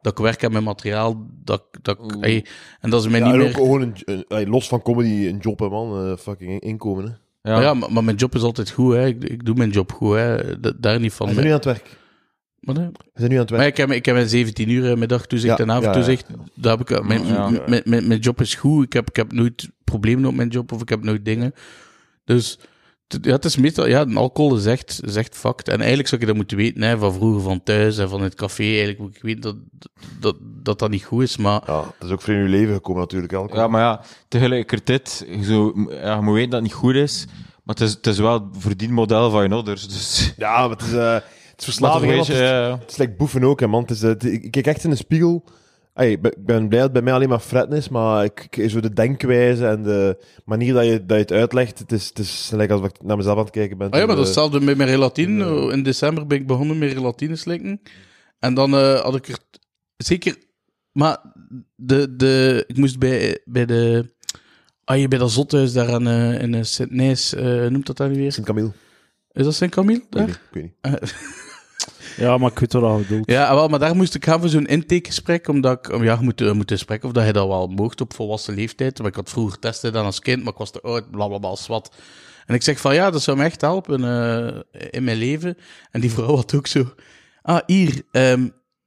Dat ik werk aan mijn materiaal. Dat, ik- dat, ik- allee, en dat is mij Mm. Ja, niet en meer... ook gewoon een, een- ey, los van comedy een job, hè, man. Eh, fucking in- inkomen. Hè. Ja. Maar ja, maar, maar mijn job is altijd goed, hè. Ik, ik doe mijn job goed, hè. Da- daar niet van. We zijn nu aan het werk. Maar, nee. We zijn nu aan het werk. maar ik heb, ik heb mijn 17 uur eh, middagtoezicht Ja, en avondtoezicht. Daar heb ik, eh, mijn, Ja. mijn, mijn, mijn job is goed. Ik heb, ik heb nooit problemen op mijn job of ik heb nooit dingen. Dus t- ja, het is meestal... Ja, een alcohol is echt, is echt fucked. En eigenlijk zou ik dat moeten weten, hè. Van vroeger, van thuis en van het café. Eigenlijk moet ik weten dat dat, dat, dat niet goed is, maar... Ja, dat is ook voor in uw leven gekomen natuurlijk. Elke. Ja, maar ja, tegelijkertijd, zo, ja, je moet weten dat het niet goed is, maar het is, het is wel het verdienmodel van je ouders. Dus, Ja, maar het is, eh, het is Laat verslaving. hè, een want beetje, het, is, eh, het is like boeven ook, hè, man. Het is, eh, het- ik ik kijk echt in de spiegel. Ey, ik ben- ik ben blij dat het bij mij alleen maar fretten is, maar ik, ik- zo de denkwijze en de manier dat je, dat je het uitlegt, het is, het is like als ik naar mezelf aan het kijken ben. Ah ja, maar dat is Eh, hetzelfde met mijn relatine. In december ben ik begonnen met relatine slikken. En dan eh, had ik er t- zeker... Maar de, de, ik moest bij, bij de... Ah, je bij dat zothuis daar aan, eh, in eh, Sint-Nijs, eh, hoe noemt dat daar nu weer? Sint-Camille. Is dat Sint-Camille? Ik weet daar? niet, ik weet niet. Ja, maar ik weet wat dat bedoelt. Ja, ah, wel, maar daar moest ik gaan voor zo'n intakegesprek, omdat ik... om- Ja, je moet, eh, moet een gesprek of dat je dat wel mocht op volwassen leeftijd. Maar ik had vroeger testen dan als kind, maar ik was te oud, blablabla, als wat. En ik zeg van, ja, dat zou me echt helpen eh, in mijn leven. En die vrouw had ook zo... Ah, hier, ehm,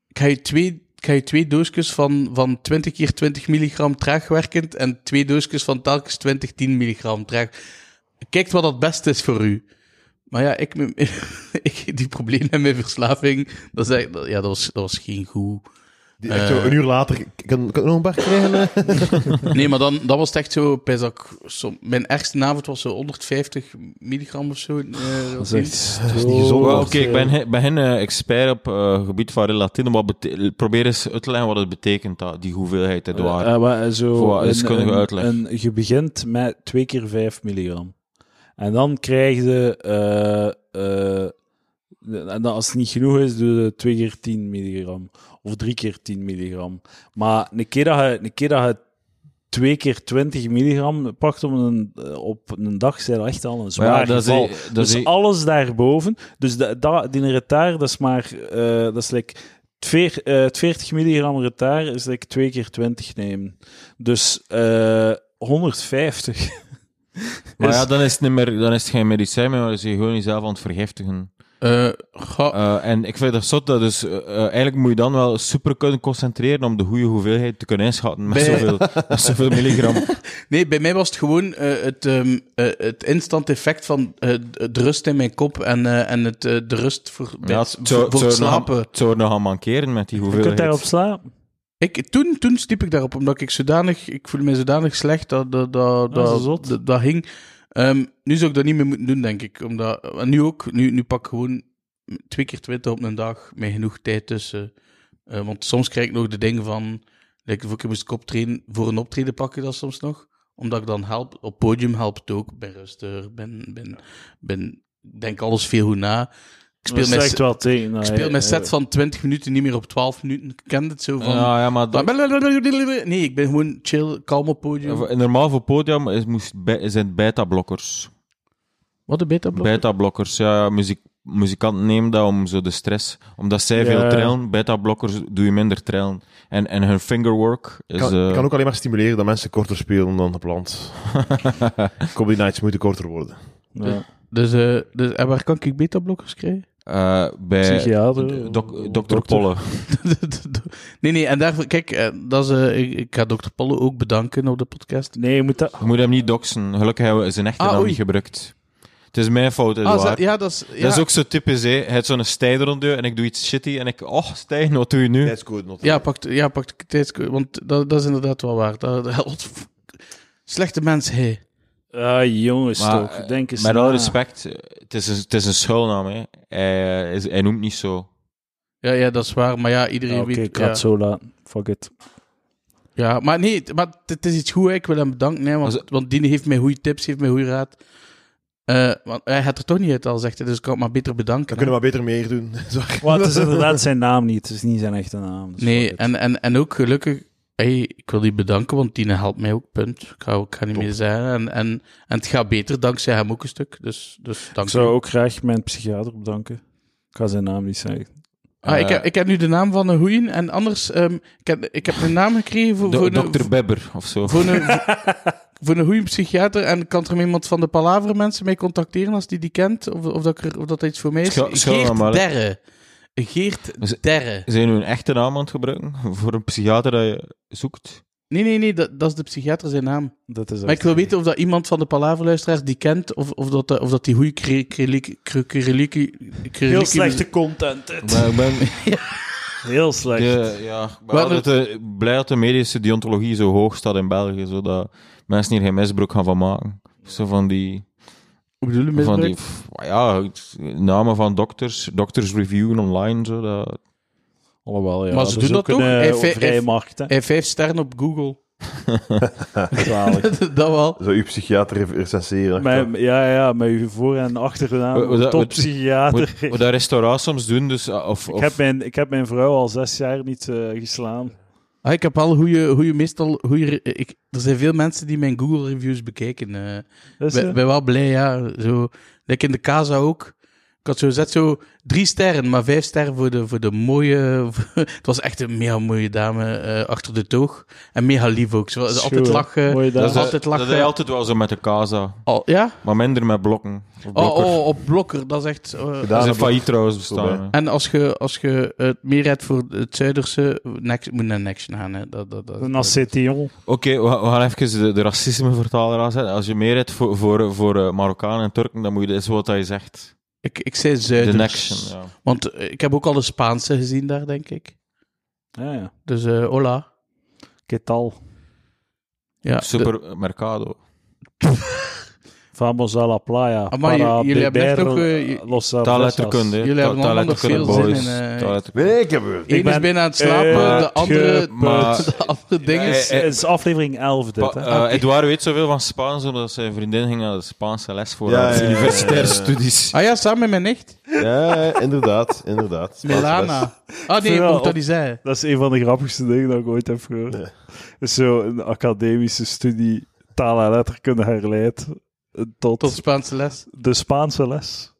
ik ga je twee... Ik ga je twee doosjes van, van 20 keer 20 milligram traagwerkend en twee doosjes van telkens 20, 10 milligram traag. Kijkt wat het beste is voor u. Maar ja, ik, ik, die problemen met mijn verslaving, dat, is echt- dat- ja, dat, was, dat was geen goed. Die- echt zo een uur later, ik- ik kan, kan ik nog een bar krijgen? eh? Nee, maar dan, dan was het echt zo, pijs dat ik som- mijn ergste avond was zo 150 milligram of zo. eh, Dat is niet. echt Dat is zo- niet gezond. Wel, hoor. Oké, ik ben, he- ben geen eh, expert op eh, gebied van relatine, maar bete- probeer eens uit te leggen wat het betekent, dat, die hoeveelheid het waar. Eh, eh, maar zo Voor wat wiskundige een- uitleg. een- je begint met 2 keer 5 milligram. En dan krijg je... eh, eh, en dan als het niet genoeg is, doe je 2 keer 10 milligram. Of 3 keer 10 milligram. Maar een keer dat je, een keer dat je 2 keer 20 milligram pakt op een, eh, op een dag, zijn dat echt al een Maar zwaar ja, dat is, geval. dat Dus is- alles daarboven. Dus da, da, die retaar, dat is maar... eh, dat is like het veer- eh, het 40 milligram retaar is like 2 keer 20 nemen. Dus eh, 150. maar is- ja, dan is, het niet meer, dan is het geen medicijn meer, maar dan is je gewoon jezelf aan het vergiftigen. Eh, ga- Eh, en ik vind dat zot, dat dus, eh, eh, eigenlijk moet je dan wel super kunnen concentreren om de goede hoeveelheid te kunnen inschatten met, Bij- zoveel, met zoveel milligram. Nee, bij mij was het gewoon eh, het, ehm, eh, het instant effect van eh, de rust in mijn kop en, eh, en het, eh, de rust voor, bij Ja, het- het zou- voor het zou nog aan- slapen. Het zou er nog aan mankeren met die Je kunt hoeveelheid. daarop slapen. Ik, toen, toen stiep ik daarop, omdat ik zodanig, ik voelde me zodanig slecht dat dat, dat, Dat is dat, zot. dat, dat hing. Ehm, nu zou ik dat niet meer moeten doen, denk ik. Omdat, en nu ook, nu, nu pak ik gewoon twee keer twintig op een dag met genoeg tijd tussen. Eh, want soms krijg ik nog de dingen van, like, voor ik moest ik optreden, voor een optreden pak ik dat soms nog. Omdat ik dan help, op podium helpt het ook, ben rustig, ben, ben, ben, denk alles veel goed na. Ik speel, Dat mijn, zegt se- wel tegen. eh, ik speel mijn set van 20 minuten niet meer op 12 minuten. Ik kende het zo van... Ja, ja, maar dat- Nee, ik ben gewoon chill, kalm op podium. Eh, Normaal voor podium is, moest, bij- zijn beta-blokkers. Wat een beta blok. Beta-blokkers, ja, ja, muziek, muzikanten nemen dat om zo de stress. Omdat zij Ja. veel trillen, beta-blokkers doe je minder trillen. En, en hun fingerwork is... kan, eh, kan ook alleen maar stimuleren dat mensen korter spelen dan gepland. Comedy nights moeten korter worden. Ja. Dus, eh, dus, en waar kan ik beta blokkers krijgen? eh, bij Psychiater. dok- dokter. dokter Polle. nee, nee, en daarvoor, kijk, eh, dat is, eh, ik, ik ga dokter Pollo ook bedanken op de podcast. Nee, je moet dat... Je moet hem niet doxen. Gelukkig hebben we zijn echte Ah, naam oei. niet gebruikt. Het is mijn fout, Ah, Edouard. ze- ja, dat is, ja, Dat is ook zo typisch, hè. Hij heeft zo'n stijder onder en ik doe iets shitty en ik... Och, Stijn, wat doe je nu? Tijdscode not. ja, pak, ja, pak de tijds- want dat, dat is inderdaad wel waar. Dat, dat- slechte mens, hé. Ah, jongens Maar, toch. eh, Denk eens Met na. Ah. alle respect, eh, het is een, het is een schuilnaam, hè. Hij, eh, is- hij noemt niet zo. Ja, ja, dat is waar, maar ja, Ja, iedereen Oké, weet... ik ga het ja. zo laten. Fuck it. Ja, maar nee, t- maar t- het is iets goeds. hè. Ik wil hem bedanken, hè, want, Als- want die heeft mij goede tips, heeft mij goede raad. Eh, want hij had er toch niet uit al zegt, hij, dus ik kan het maar beter bedanken. Dan hè. kunnen we maar beter meer doen. Zo. Want het is inderdaad zijn naam niet. Het is niet zijn echte naam. dus fuck Nee, it. en, en, en ook gelukkig, hey, ik wil die bedanken, want die helpt mij ook, punt. Ik ga, ik ga niet meer zeggen. En, en, en het gaat beter dankzij hem ook een stuk, dus, dus dank Ik zou u. ook graag mijn psychiater bedanken. Ik ga zijn naam niet zeggen. Ah, ik, eh, heb, ik heb nu de naam van een goeie, en anders, ehm, ik, heb, ik heb een naam gekregen voor, Do- voor, een, dokter Bebber of zo. voor een... Voor een goede psychiater en kan er iemand van de Palaver mensen mee contacteren als die die kent? Of, of, dat, ik er- of dat dat iets voor mij is? Schel- schel Geert hem maar, hè. Derre. Dus- Geert Derre. Zijn we een echte naam aan het gebruiken voor een psychiater dat je zoekt? Nee, nee, nee, dat, dat is de psychiater zijn naam. Dat is Maar echt- ik wil weten of dat iemand van de palaverluisteraars die kent, of, of, dat, eh, of dat die goede krelikie... Heel slechte content. dit. Maar ik ben, Heel slecht. de, ja, ik ben Wat altijd eh, blij dat de medische deontologie zo hoog staat in België, zodat mensen hier geen misbruik gaan van maken. Zo van die, bedoel je van misbruik? die f- ja, het- namen van dokters, dokters reviewen online, zo, dat, Alhoewel, ja. Maar ze dat doen is dat ook een, toch? eh, Hij fe- vrije hij- markt, hè. Hij heeft vijf sterren op Google. Zalig. dat wel. Zou uw psychiater recenseren? Mijn- ja, ja, met uw voor- en Wat- wat- achternaam. wat- Toppsychiater. Wat, wat dat restaurants soms doen, dus... eh, Of, Ik of- heb, mijn, ik heb mijn vrouw al zes jaar niet eh, geslaan. Ah, ik heb al goede, goede meestal goede. Ik, er zijn veel mensen die mijn Google reviews bekijken. eh. Is ben, het? ben wel blij, ja. Zo, like in de Casa ook. Ik had zo gezet, zo drie sterren, maar vijf sterren voor de, voor de mooie... het was echt een mega mooie dame eh, achter de toog. En mega lief ook. Ze was Schoon, altijd hè. lachen. Mooie dat dag. is eh, altijd lachen. Dat is altijd wel zo met de casa, Al, ja? maar minder met blokken. Of Oh, blokker. oh, op blokker, dat is echt. eh, Dat Gedaan is een heb ik. failliet trouwens Voorbij. bestaan. hè. En als je als je het meer hebt voor het Zuiderse, next, moet naar Next gaan. Hè. Dat, dat, dat, Een acetion. Oké, we we gaan even de, de racismevertaler aanzetten. Als je meer hebt voor, voor, voor eh, Marokkanen en Turken, dan moet je... Dat is wat hij zegt. ik, ik zei De Zuiders. action, ja. Want eh, ik heb ook al de Spaanse gezien daar, denk ik. Ja, ja. Dus eh hola. Ketal. Ja, de- Supermercado. Vamos a la playa. Ah, maar para j- jullie hebben echt beber nog, eh, j- Los Cervezas. Taalletterkunde. hè. Jullie hebben Ta- allemaal nog taalletterkunde, veel zin boys. in, eh, Taalletterkunde. Nee, ik heb er. de ene is ben bijna aan het slapen, Eh, de andere, uitgeput. Maar- de andere ding Eh, is. eh, Het is aflevering 11 dit, Pa- hè. eh, Edouard weet zoveel van Spaans, omdat zijn vriendin ging naar de Spaanse les voor Ja, ja, haar ja, ja, universitaire ja, ja. studies. Ah ja, samen met mijn nicht, Ja, inderdaad, inderdaad. Spaans best. Milana. Ah nee, Vind ik wel mocht dat op- niet zeggen. Dat is een van de grappigste dingen dat ik ooit heb gehoord. Ja. Is zo een academische studie taal en letterkunde herleid eh, tot, Tot Spaanse les. de Spaanse les.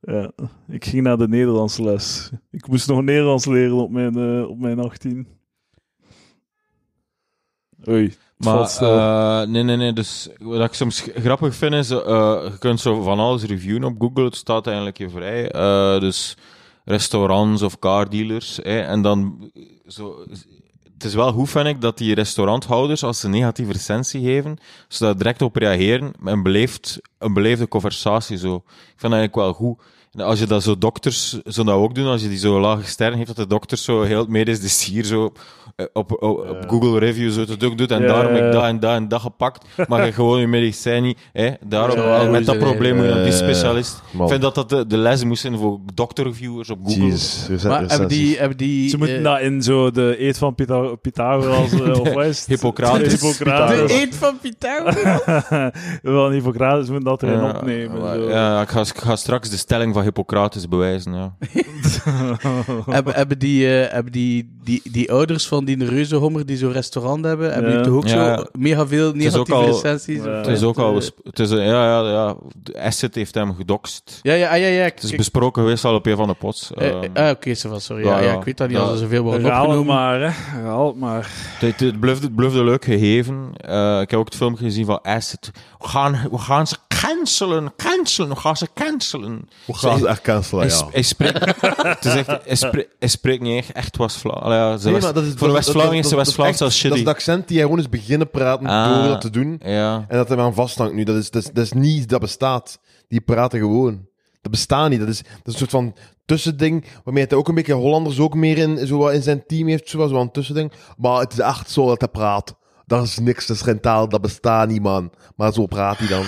Ja, ik ging naar de Nederlandse les. Ik moest nog Nederlands leren op mijn, eh, op mijn 18. Oei, het valt Maar stil. eh, nee, nee, nee. Dus wat ik soms g- grappig vind is, eh, je kunt zo van alles reviewen op Google. Het staat eigenlijk je vrij. Eh, dus restaurants of cardealers. hè, en dan eh, zo. Het is wel goed, vind ik, dat die restauranthouders, als ze een negatieve recensie geven, ze daar direct op reageren met een, beleefd, een beleefde conversatie. Zo. Ik vind dat eigenlijk wel goed. En als je dat zo dokters, zo dat ook doen, als je die zo lage sterren heeft, dat de dokters zo heel het medisch dossier zo eh, op, op, op Google Reviews zo te doen doet en Ja, daarom ja, heb ja. ik dat en dat en dat gepakt, maar je gewoon je medicijn niet, hè, daarom Ja, wel, hoe met is dat dat probleem moet je naar die Eh, specialist. man. Ik vind dat dat de, de les moest zijn voor dokterreviewers op Google. Jeez, recent, Maar hebben die, hebben die... Ze moeten eh, dat in zo de eet van Pytha- Pythagoras eh, of wat is het? Hippocrates. Hippocrates. De eet van Pythagoras. Wel, Hippocrates moet dat erin Ja, opnemen. maar- zo. ja, ik ga, ik ga straks de stelling van Hippocrates bewijzen. Ja. hebben, hebben die, eh, hebben die, die, die ouders van die reuzenhommer die zo'n restaurant hebben, hebben Ja. die toch ook Ja. zo mega veel is ook negatieve al- recensies? Ja. Of- Het is ook al. eh, bes- Het is, een- ja, ja, ja. De asset heeft hem gedokst. Ja, ja, ah, ja, ja. ik- Het is ik- besproken geweest al op een van de pots. eh, Ehm, eh, ah, Oké, ze was sorry. Ja, ja, ja, ik weet dat niet, ja. als er zoveel worden Herhaal het opgenomen. maar, hè. Herhaal het maar. Het, het, blijft, het blijft leuk gegeven. Eh, ik heb ook het filmpje gezien van Acid. We gaan, we gaan ze k- cancelen, cancelen, gaan ze cancelen. Hoe gaan ze echt cancelen, Hij, ja. sp- hij spreekt, het is echt, hij, spre- hij spreekt niet echt, echt West-Vla- Allee, ja, ze West maar dat is- Voor dat- dat- West-Vlamingen is dat- dat- dat- West-Vlaams echt- als Dat shitty. is het accent die hij gewoon is beginnen praten Ah. door dat te doen. ja. En dat hij maar aan vasthangt nu. Dat is, dat, is, dat is niet dat bestaat. Die praten gewoon. Dat bestaat niet. Dat is, dat is een soort van tussending. Waarmee hij ook een beetje Hollanders ook meer in, zo wat in zijn team heeft. Zo wat, zo'n tussending. Maar het is echt zo dat hij praat. Dat is niks. Dat is geen taal. Dat bestaat niet, man. Maar zo praat hij dan.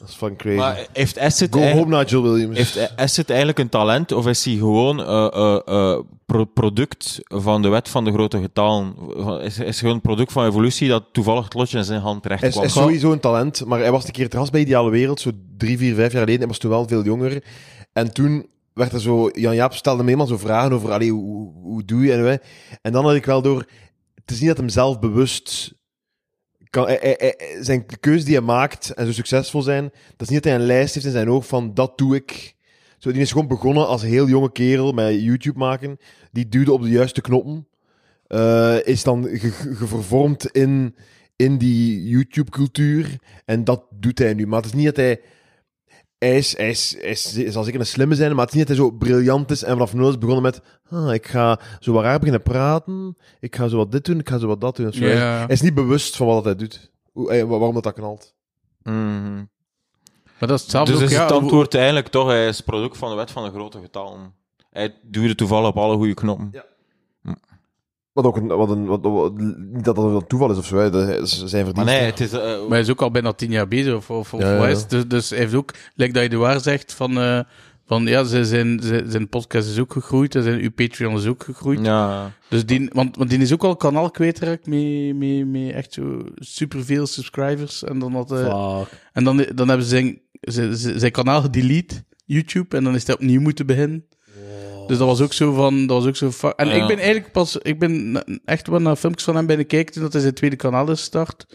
Dat is van crazy. Maar heeft Asset, Go eigenlijk, home, Nigel Williams. Dus- heeft Asset eigenlijk een talent of is hij gewoon eh, eh, eh, pro- product van de wet van de grote getalen? Is, is gewoon een product van evolutie dat toevallig het lotje in zijn hand terecht Hij is, kwam? hij is sowieso een talent, maar hij was een keer te gast bij Ideale Wereld, zo drie, vier, vijf jaar geleden. Hij was toen wel veel jonger. En toen werd er zo... Jan-Jaap stelde me eenmaal zo vragen over, allee, hoe- hoe, hoe doe je? En, wij- en dan had ik wel door... Het is niet dat hem zelf bewust... Kan, hij- hij- hij- zijn de keuze die hij maakt en zo succesvol zijn, dat is niet dat hij een lijst heeft in zijn oog van dat doe ik. Zo, die is gewoon begonnen als heel jonge kerel met YouTube maken. Die duwde op de juiste knoppen. Eh, is dan ge- ge- gevervormd in in die YouTube-cultuur. En dat doet hij nu. Maar het is niet dat hij... Hij, is, hij, is, hij, is- hij zal zeker een slimme zijn, maar het is niet dat hij zo briljant is en vanaf nul is begonnen met ah, ik ga zo wat raar beginnen praten, ik ga zo wat dit doen, ik ga zo wat dat doen. of zo. Hij, Ja. hij is niet bewust van wat hij doet. Hoe, hij- wa- waarom dat, dat knalt. Mhm. Maar dat is hetzelfde Dus ook, is ja, het hoe- antwoord eigenlijk toch, hij is product van de wet van de grote getalen. Hij duwde toevallig op alle goede knoppen. Ja. Wat ook een... Wat een wat, wat- niet dat dat een toeval is of zo, hè. dat is zijn Maar verdienst. nee, het is... eh, Maar hij is ook al bijna tien jaar bezig, of, of, of Ja, ja, wat is ja. het? Dus, dus hij heeft ook, like dat je de waar zegt, van, eh, van ja, ze- zijn, zijn, zijn podcast is ook gegroeid, en zijn, uw Patreon is ook gegroeid. ja. Dus die, want, want die is ook al kanaal kwijtgeraakt met, met, met echt zo superveel subscribers. En dan, had, eh, Fuck. en dan, dan hebben ze zijn, zijn, zijn kanaal gedelete, YouTube, en dan is hij opnieuw moeten beginnen. Dus dat was ook zo van, dat was ook zo fa- En Ja. ik ben eigenlijk pas, ik ben na- echt wel naar filmpjes van hem bijna kijken toen dat hij zijn tweede kanaal is gestart.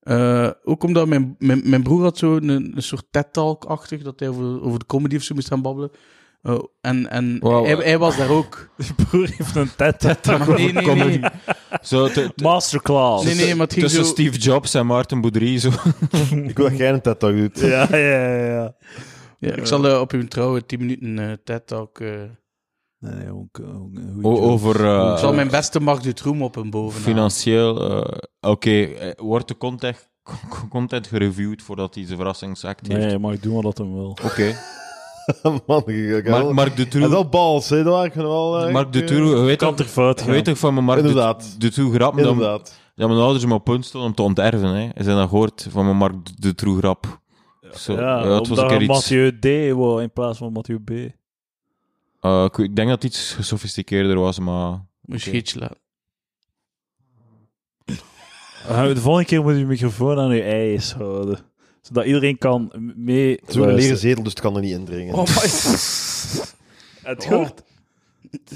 Eh, ook omdat mijn, mijn, mijn broer had zo een, een soort TED-talk-achtig, dat hij over, over de comedy of zo moest gaan babbelen. Eh, en en Wauw. hij, hij was daar ook. Die broer heeft een ted Maar nee, nee, nee. Zo, te- te- Masterclass. Nee, nee, maar het ging tussen zo... Steve Jobs en Martin Boudry. Zo. Ik wil dat jij een TED-talk doet. Ja, ja, ja, ja. Ja, ik zal eh, op uw trouwe 10 minuten eh TED-talk... eh, Nee, nee, ook, eh, ook een goede O- joke. over eh, ik zal mijn beste Mark Dutroux op hem boven financieel. eh, Oké, eh, wordt de content, con- content gereviewd voordat hij zijn verrassingsact heeft? Nee, maar ik doe maar dat hem wil. Oké. Man, ik- ik- Mark, Mark Hij is Dutroux. wel bals, hè. Dat ik wel... eh, Mark ik, Dutroux, je weet Kan toch... er fout Je gaan. weet toch van mijn eh, Mark Dut- Inderdaad. Dutroux grap? Dat, Inderdaad. dat mijn ouders hem op punt stonden om te onterven. Hè. Ze zijn dat nou gehoord van mijn Mark Dutroux grap. Zo, ja, ja, het was een omdat keer hij iets... Mathieu D wou in plaats van Mathieu B. eh, ik- ik denk dat het iets gesofisticeerder was, maar... Moest Oké. schietje laten. De volgende keer moet je je microfoon aan je ijs houden. Zodat iedereen kan mee... Het is ook een leren luisteren. zetel, dus het kan er niet Oh, indringen. Het gehoord.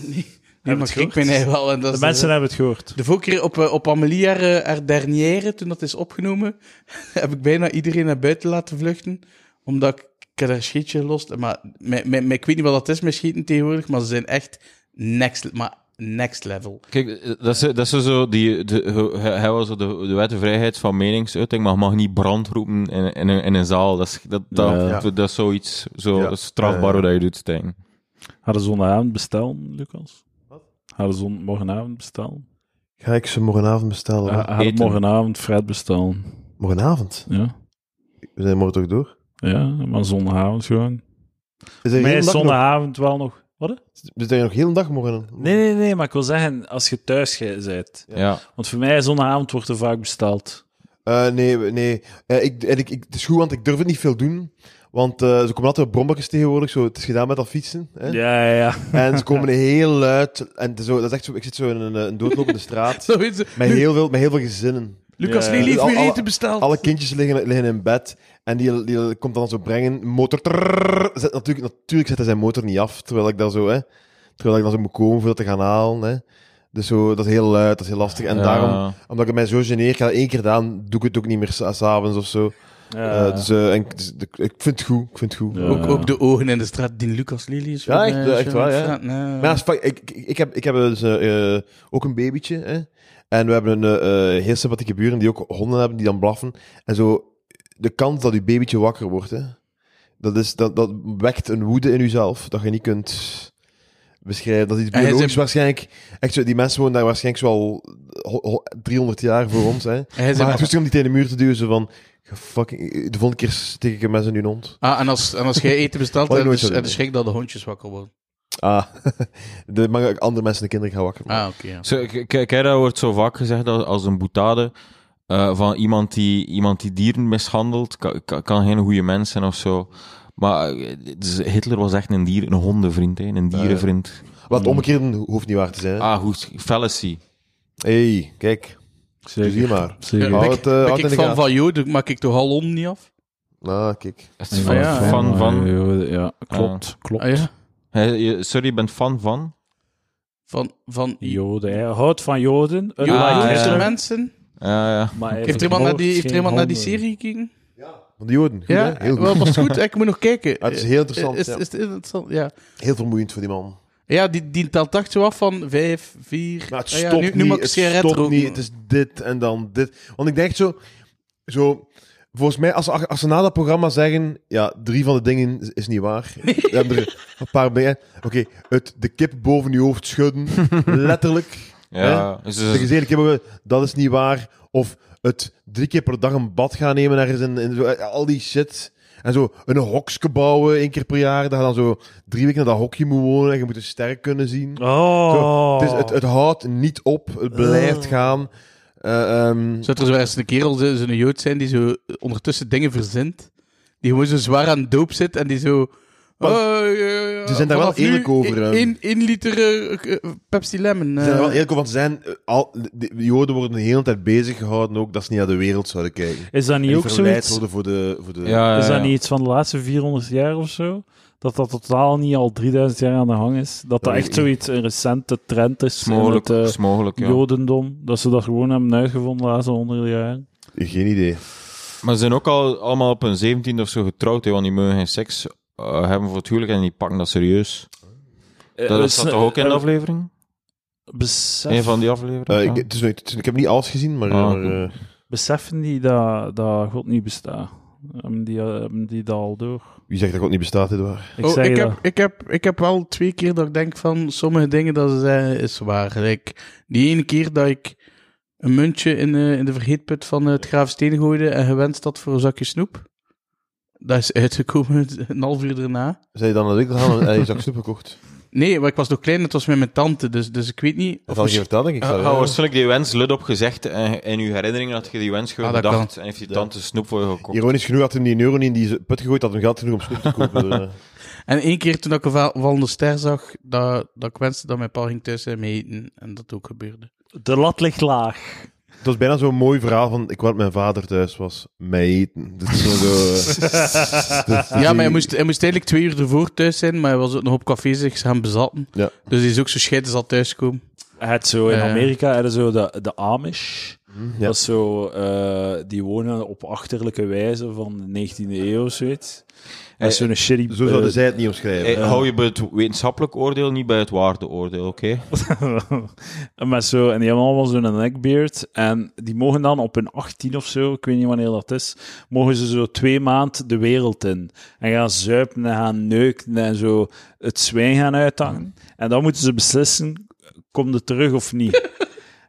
Nee, Heb maar het ik gehoord? ben hij wel. En dat De is eh, mensen hebben het gehoord. De vorige keer op, eh, op Amelie haar, eh, haar dernière, toen dat is opgenomen, heb ik bijna iedereen naar buiten laten vluchten, omdat ik, ik had haar schietje lost. Maar mijn, mijn, mijn- ik weet niet wat dat is met schieten tegenwoordig, maar ze zijn echt next, maar next level. Kijk, eh, dat is, dat is zo die, de, he- hij was zo de, de wet de vrijheid van meningsuiting, maar je mag niet brand roepen in, in, een- in een zaal. Dat is, dat, dat, Ja. dat, is zoiets, zo Ja. dat is strafbaar Ja, ja. wat je doet, denk ik. Hadden ze vanavond bestellen, Lucas? Wat? Hadden ze morgenavond bestellen? Ga ik ze morgenavond bestellen? Ha- hoor. Hadden eten. morgenavond Fred bestellen. Morgenavond? Ja, We zijn morgen toch door? ja maar zondagavond gewoon. Is er, Mij heel is dag nog, zondagavond wel nog... Wat? hè? is er nog heel een dag morgen? Nee, nee, nee, maar ik wil zeggen, als je thuis ge- bent. Ja. Want voor mij, zondagavond wordt er vaak besteld. Eh, nee, we- nee. Eh, ik, en ik, ik, het is goed, want ik durf het niet veel doen. Want eh, ze komen altijd op brommetjes tegenwoordig. Zo, het is gedaan met dat fietsen. Hè? Ja, ja, ja. En ze komen heel luid. En het is zo, dat is echt zo, ik zit zo in een, eh, een doodlopende straat. Zo is het. Met heel, veel, met heel veel gezinnen. Lucas Ja. Lely heeft Al- weer alle- eten besteld. Alle kindjes liggen, liggen in bed. En die, die komt dan zo brengen. Motor. trrrr, zet, natuurlijk, natuurlijk zet hij zijn motor niet af. Terwijl ik dan zo, hè, terwijl ik dan zo moet komen voor dat te gaan halen. Hè. Dus zo, dat is heel luid, dat is heel lastig. En Ja. daarom, omdat ik mij zo geneer, ik ga dat één keer gedaan, doe ik het ook niet meer s- s'avonds of zo. Eh, dus, eh, en, ik- dus ik ik vind het goed, ik vind het goed. Ja. Ook- ook, ook de ogen in de straat, die Lucas Lely is. Ja, van, echt, eh, ja, echt Sharon waar, ja. Straat, nou. Maar ja, is fuck- ik, ik, ik heb, ik heb dus, eh, eh, ook een babytje. Hè? En we hebben een eh, eh, heel sympathieke buren die ook honden hebben die dan blaffen. En zo de kans dat je babytje wakker wordt, hè, dat, is, dat, dat wekt een woede in jezelf dat je niet kunt beschrijven. Dat is iets En hij is biologisch in- waarschijnlijk. Echt zo, die mensen wonen daar waarschijnlijk zo al ho- ho- 300 jaar voor ons. Hè. Hij is in- Maar het is om die tegen de muur te duwen, zo van... "Ge Fucking, de volgende keer steek ik een mes in hun hond. Ah, en als, en als jij eten bestelt, Wat ik en nooit is zou het doen. schrik dat de hondjes wakker worden. Ah, de, maar ook andere mensen de kinderen gaan wakker maken. Ah, oké. ja. Zo, k- k- Kijk, dat wordt zo vaak gezegd dat als een boetade eh, van iemand die, iemand die dieren mishandelt, ka- ka- kan geen goede mens zijn of zo. Maar eh, dus Hitler was echt een, dier, een hondenvriend, hè, een dierenvriend. Wat omgekeerd hoeft niet waar te zijn. hè. Ah, goed, fallacy. hey, kijk. Zeker. Zie je maar. Zeker. Ja, Hou ben het, eh, hou ben het in ik de van gaten. Vajot, maak ik toch al om niet af? Ah, kijk. Het is Van, ja, hè. van, van. Ja, klopt, klopt. Ah, ja. Hij- je- Sorry, je bent fan van? Van, van Joden, hij houdt van Joden. Joden, unlike ja, ja. Hitler. mensen? Ja, ja. Maar hij Heeft er iemand naar die, heeft vermoord er iemand naar die geen honden. serie gekeken? Van de Joden. Goed, Ja, eh, hè? Heel goed. wel, was goed. Ik moet nog kijken. Ah, het is heel interessant. Eh, Is, ja. is het interessant? Ja, Heel vermoeiend voor die man. ja die, die telt echt zo af van 5, 4. Maar Nou, het Ah ja, stopt nu, nu niet, mag ik het sigaret stopt roken. niet. Het is dit en dan dit. Want ik denk echt zo, zo... Volgens mij, als, als ze na dat programma zeggen... Ja, drie van de dingen is, is niet waar. We hebben er een paar bij. Oké, het de kip boven je hoofd schudden. letterlijk. ja. Dus- De dus- gezegde kip boven- dat is niet waar. Of het drie keer per dag een bad gaan nemen ergens in... in zo, eh, al die shit... En zo een hokske bouwen één keer per jaar. Dat je dan zo drie weken in dat hokje moet wonen. En je moet een sterk kunnen zien. Oh. Het, is, het, het houdt niet op, het blijft gaan. Eh, ehm, Zou er zo ergens een kerel zo- zo'n jood zijn die zo ondertussen dingen verzint? Die gewoon zo zwaar aan doop zit en die zo... "Oh, Maar ze zijn daar wel eerlijk over, hè. 1 liter eh, eh, Pepsi Lemon. ze eh. zijn er wel eerlijk over, want ze zijn, eh, al, de, de Joden worden de hele tijd bezig gehouden ook dat ze niet naar de wereld zouden kijken. En Is dat niet die ook verleid zoiets? worden voor de... Voor de ja, ja, Is dat ja. niet iets van de laatste 400 jaar of zo? Dat dat totaal niet al 3000 jaar aan de hang is. Dat dat Ja, echt ik- zoiets een recente trend is. Is in mogelijk, het, eh, is mogelijk, ja. Jodendom. Dat ze dat gewoon hebben uitgevonden de laatste 100 jaar. Geen idee. Maar ze zijn ook al allemaal op hun 17 of zo getrouwd, hè, want die mogen geen seks eh, hebben voor het huwelijk en die pakken dat serieus. Eh, Dat zat eh, toch ook in de eh, aflevering? besef- Een van die afleveringen? Eh, ja. ik, het is nog niet- het is- ik heb niet alles gezien, maar... eh, Ah, maar, goed. eh, Beseffen die dat, dat God niet bestaat? Hebben die, eh, hebben die dat al door? wie zegt dat God niet bestaat, Edouard? Ik Oh, zeg ik, dat. heb, ik, heb, ik heb wel twee keer dat ik denk van sommige dingen dat ze zeggen is waar. Like, die ene keer dat ik een muntje in de, in de vergeetput van het Graafsteen gooide en gewenst had voor een zakje snoep. Dat is uitgekomen een half uur daarna. Zei je dan dat ik dat had en hij zak snoep gekocht? Nee, maar ik was nog klein, het was met mijn tante, dus, dus ik weet niet. Of Dat had ik je misschien- verteld, denk ik. Ah, zou- Je had waarschijnlijk die wens lid op gezegd en in je herinnering had je die wens gewoon Ah, dat gedacht en heeft je tante snoep voor je ja. gekocht. Ironisch genoeg had hij hem die euro niet in die put gegooid, had hem geld genoeg om snoep te kopen. eh. En één keer toen ik een val- vallende ster zag, dat, dat ik wenste dat mijn pa ging thuis en mee eten. En dat ook gebeurde. De lat ligt laag. Het was bijna zo'n mooi verhaal van, ik wou dat mijn vader thuis was, mij eten. Dat is zo, zo, eh, dat- Ja, maar hij moest, hij moest eigenlijk twee uur ervoor thuis zijn, maar hij was ook nog op café zich gaan bezatten. Ja. Dus hij is ook zo scheiden zal thuiskomen. Het zo in Eh. Amerika hadden zo de, de Amish. Mhm, ja. Dat is zo, eh, die wonen op achterlijke wijze van de 19e eeuw of zoiets. Dat is Eh, zo'n shitty... Zo zouden zij het niet omschrijven. Eh, hou je bij het wetenschappelijk oordeel, niet bij het waardeoordeel, oké? maar zo, en die hebben allemaal zo'n neckbeard. En die mogen dan op hun 18 of zo, ik weet niet wanneer dat is, mogen ze zo twee maand de wereld in. En gaan zuipen en gaan neuken en zo het zwijn gaan uithangen. Mhm. En dan moeten ze beslissen, komt het terug of niet?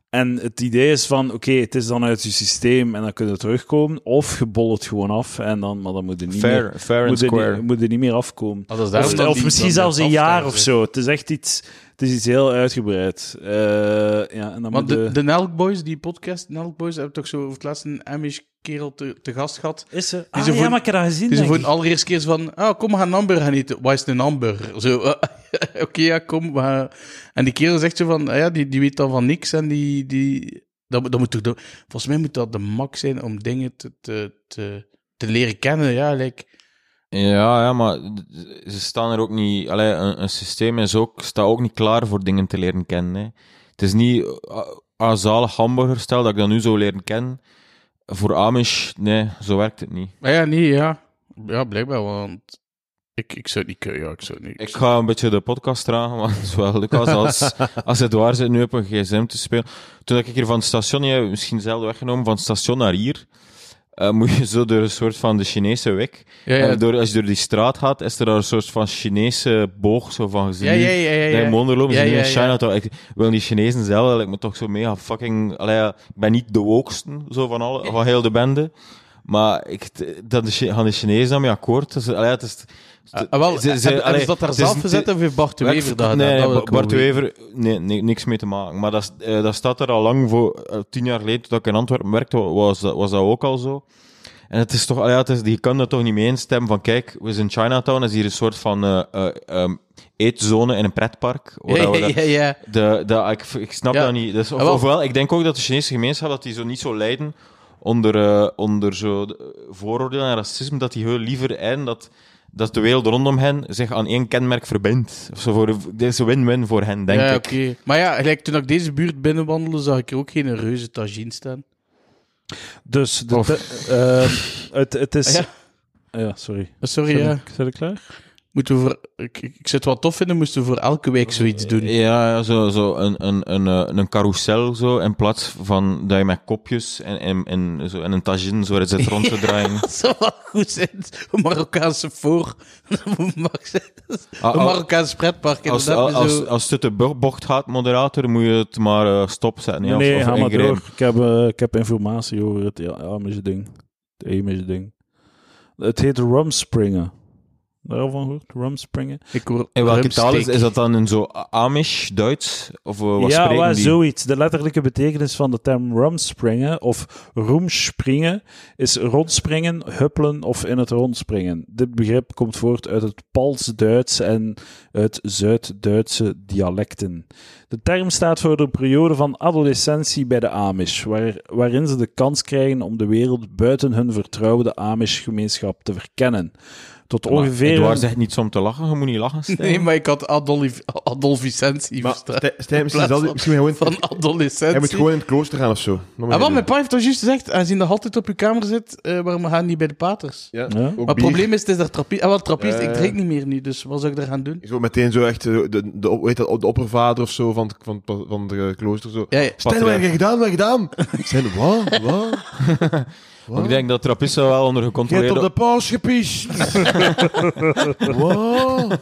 En het idee is van, oké, het is dan uit je systeem en dan kunnen we terugkomen. Of je bol het gewoon af en dan, maar dan moet je niet meer... Fair, fair and Moet er, niet, square. moet er niet meer afkomen. Ah, dat is daarom Of, dat of die- misschien dat zelfs die een jaar of afstijgt. zo. Het is echt iets, het is iets heel uitgebreid. Eh, ja, en dan Want moet de, je- de Nelk Boys, die podcast, Nelk Boys, hebben toch zo over het laatst een Amish kerel te, te gast gehad. Is er? Ah, zo ja, voor- maar ik heb dat gezien. Dus voor de allereerste keer zo van, ah, kom, we gaan een hamburger gaan eten. Wat is een hamburger? Zo, eh, oké, ja, kom. we gaan- En die kerel zegt zo van, ah, ja, die, die weet dan van niks en die... die dat, moet- dat moet toch de- volgens mij moet dat de max zijn om dingen te, te, te, te leren kennen, ja. Like, Ja, ja, maar d- ze staan er ook niet... Allee, een, een systeem is ook, staat ook niet klaar voor dingen te leren kennen, hè. Het is niet eh, ah, zalig hamburger, stel dat ik dat nu zou leren kennen. Voor Amish, nee, zo werkt het niet. maar ja, nee, ja. Ja, blijkbaar, want ik, ik zou het niet kunnen, ja, ik zou het niet. Ik ga een beetje de podcast dragen, want zowel Lucas als, als Edouard zit nu op een gsm te spelen. Toen ik hier van het station, jij hebt misschien zelf weggenomen, van het station naar hier, eh, moet je zo door een soort van de Chinese wik. Ja, ja. En dus door, als je door die straat gaat, is er daar een soort van Chinese boog zo van gezien. Ja, ja, ja, ja, ja. Daar in Wonder lopen ze Ja, nu ja, in ja. Chinatown. Ik wil die Chinezen zelf eigenlijk me toch zo mega fucking... Allee, ja, ik ben niet de woksten zo van, alle, van heel de bende. Maar ik, dat de, Chi- gaan de Chinezen daarmee akkoord? Dus, allee, het is, Ah, wel, ze- en- ze- en- en allee, is dat daar het is- zelf gezet het- of heeft Bart de Nee, Wever dat gedaan? nee, Dat wil Ba- ik wel Bart de weten. Wever, nee, nee, niks mee te maken. Maar dat, is- eh, dat staat er al lang voor. eh, tien jaar geleden, toen ik in Antwerpen werkte, was, dat- was dat ook al zo. En het is toch, ah ja, het is, je kan er toch niet mee instemmen van, kijk, we zijn in Chinatown, is hier een soort van eh, eh, ehm, eetzone in een pretpark. waar dat we Ja, dat- ja, ja, ja. de, de, ik, ik snap Ja. dat niet. Dus, of, Ah, wel. ofwel, ik denk ook dat de Chinese gemeenschap dat die zo niet zo lijden onder, eh, onder zo de- eh, vooroordelen en racisme, dat die heel liever en dat, dat de wereld rondom hen zich aan één kenmerk verbindt. Of zo voor, dit is een win-win voor hen, denk ja, ik. oké. Maar ja, gelijk, toen ik deze buurt binnenwandelde, zag ik er ook geen reuze tagine staan. Dus de, Of- de- ehm, het, het is... Ah, Ja, sorry. Ah, Sorry, Zijn ja. we- zijn we klaar? Moeten we voor, ik, ik ik zou het wel tof vinden, moesten we voor elke week zoiets doen. Ja, ja, zo, zo een, een, een, eh, een carousel zo, in plaats van dat je met kopjes en, en, en, zo, en een tagine zo zit rond te draaien. Dat zou wel goed zijn. Een Marokkaanse voor. Dat mag zijn. Ah, Een ah, Marokkaans pretpark. Als, inderdaad, als, met zo- als, als het de bo- bocht gaat, moderator, moet je het maar eh, stopzetten. Nee, ja, of- nee of ga maar ingrijpen. door. Ik heb, eh, ik heb informatie over het ja, Amish ding. Het Amish ding. Het heet Rumspringen. Daarvan gehoord? Rumspringen? ik hoor In welke taal is, rumsteak. is dat dan in zo Amish, Duits? Of eh, wat ja, spreken wel, die? zoiets. De letterlijke betekenis van de term rumspringen of roemspringen is rondspringen, huppelen of in het rondspringen. Dit begrip komt voort uit het Pals-Duits en uit Zuid-Duitse dialecten. De term staat voor de periode van adolescentie bij de Amish, waar, waarin ze de kans krijgen om de wereld buiten hun vertrouwde Amish-gemeenschap te verkennen. Tot Maar ongeveer... Edouard hun- zegt niets om te lachen, je moet niet lachen. Stijn. Nee, maar ik had Adolf, Adolf Vicentie Maar verstaan. Stijn- Stijn, misschien plaats zal van- hij- misschien gewoon... Van Hij moet adolescentie. gewoon in het klooster gaan of zo. Dat moet En hij wat doen. mijn pa heeft dan juist gezegd, aangezien dat altijd op je kamer zit, eh, waarom gaan die niet bij de paters? Ja, Ja? ook Maar het bier. Eh. probleem is, het is daar trappie. Ah, wel, trappist, Ja, ja, ik ja. drink niet meer nu, dus wat zou ik daar gaan doen? Zo meteen zo echt eh, de, de, de, hoe heet dat, de oppervader of zo van, het- van, het- van de klooster. Zo. Ja, ja. Stijn, wat heb je gedaan? Wat heb je gedaan? Stijn, wat? Wat? Maar Ik denk dat trappisten wel onder Je hebt op gecontroleerde... de paus gepiest. Wat?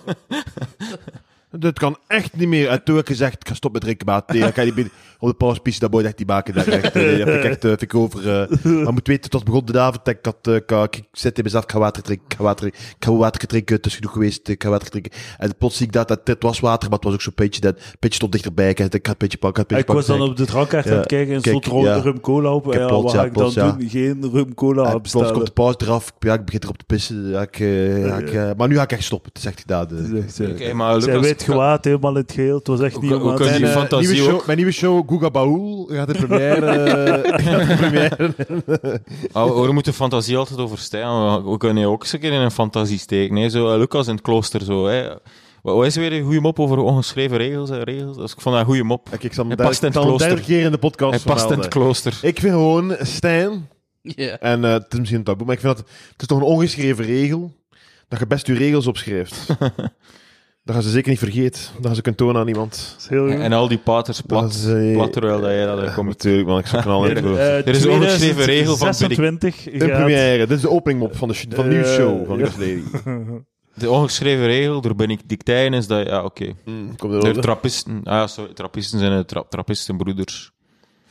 Dat kan echt niet meer. En toen heb ik gezegd, ik ga stoppen met drinken, maar thee. Dan kan je niet meer op de paus pissen, dat boy echt die baken. Dat echt, eh, heb ik echt, eh, vind ik over. eh. maar moet weten, tot begon de avond, ik had, eh, ik, had- ik zette in mezelf, ik ga water drinken, ik ga water, ik ga water drinken, het is genoeg geweest, ik ga water drinken. En plots zie ik dat, dat dit was water, maar het was ook zo'n beetje, dat het beetje stond dichterbij, ik, ik ga het beetje pakken, ik ga het beetje Ik was dan pakken. op de drankaart Ja, aan het kijken en kijk, stond rond ja. de rum cola op. heb Ja, plots, wat ja, ga ik dan plots, ja. doen? Geen rum cola En plots bestellen. komt de paus eraf, ik, ja, ik begin erop te pissen, ja, ik, eh, ja, ik, eh, maar nu ga ik echt stoppen, het is echt gedaan. eh. Oké, maar Zij Lucas, weet gewaad, helemaal in het geel. Het was echt Hoe niet kan- hoe normaal. kan die En, eh, van- fantasie nieuwe show, ook. Mijn nieuwe show, Guga Baul, gaat in première. eh, gaat in première. oh, we moeten fantasie altijd overstijgen. We, we kunnen je ook eens een keer in een fantasie steken. Hè? Zo, eh, Lucas in het klooster, zo. Hè? Wat, wat is er weer een goede mop over ongeschreven regels en regels? Dus ik vond dat een goede mop. Kijk, ik zal hem Hij past derde- in het zal hem derde klooster. keer in de podcast Hij past in vermelden. het klooster. Ik vind gewoon, Stijn, Ja. en eh, het is misschien een taboe, maar ik vind dat het is toch een ongeschreven regel dat je best je regels opschrijft. dat gaan ze zeker niet vergeten. Dat gaan ze kunnen tonen aan iemand. is heel goed. En al die paters Dat plat, is, eh, plat terwijl dat jij dat Ja, komt. natuurlijk, want ik zou knallen. Ja, in eh, de- Eh, Er is een ongeschreven regel van 26 in gaat- première. Dit is de openingmop van de, sh- van de nieuwe Eh, show van ja. Lucas Lely. De ongeschreven regel door ben ik dictijn is dat... Ja, oké. Mm, komt er wel. De trappisten. Ah, ja, sorry. Trappisten zijn de tra trappistenbroeders.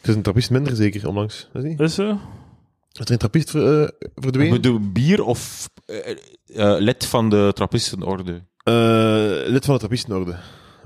Het is een trappist minder zeker, onlangs. Is, niet? Is ze? is er een trappist ver- eh, Ik verdwenen? bedoel, bier of eh, eh, lid van de trappistenorde? Eh, lid van de trappistenorde.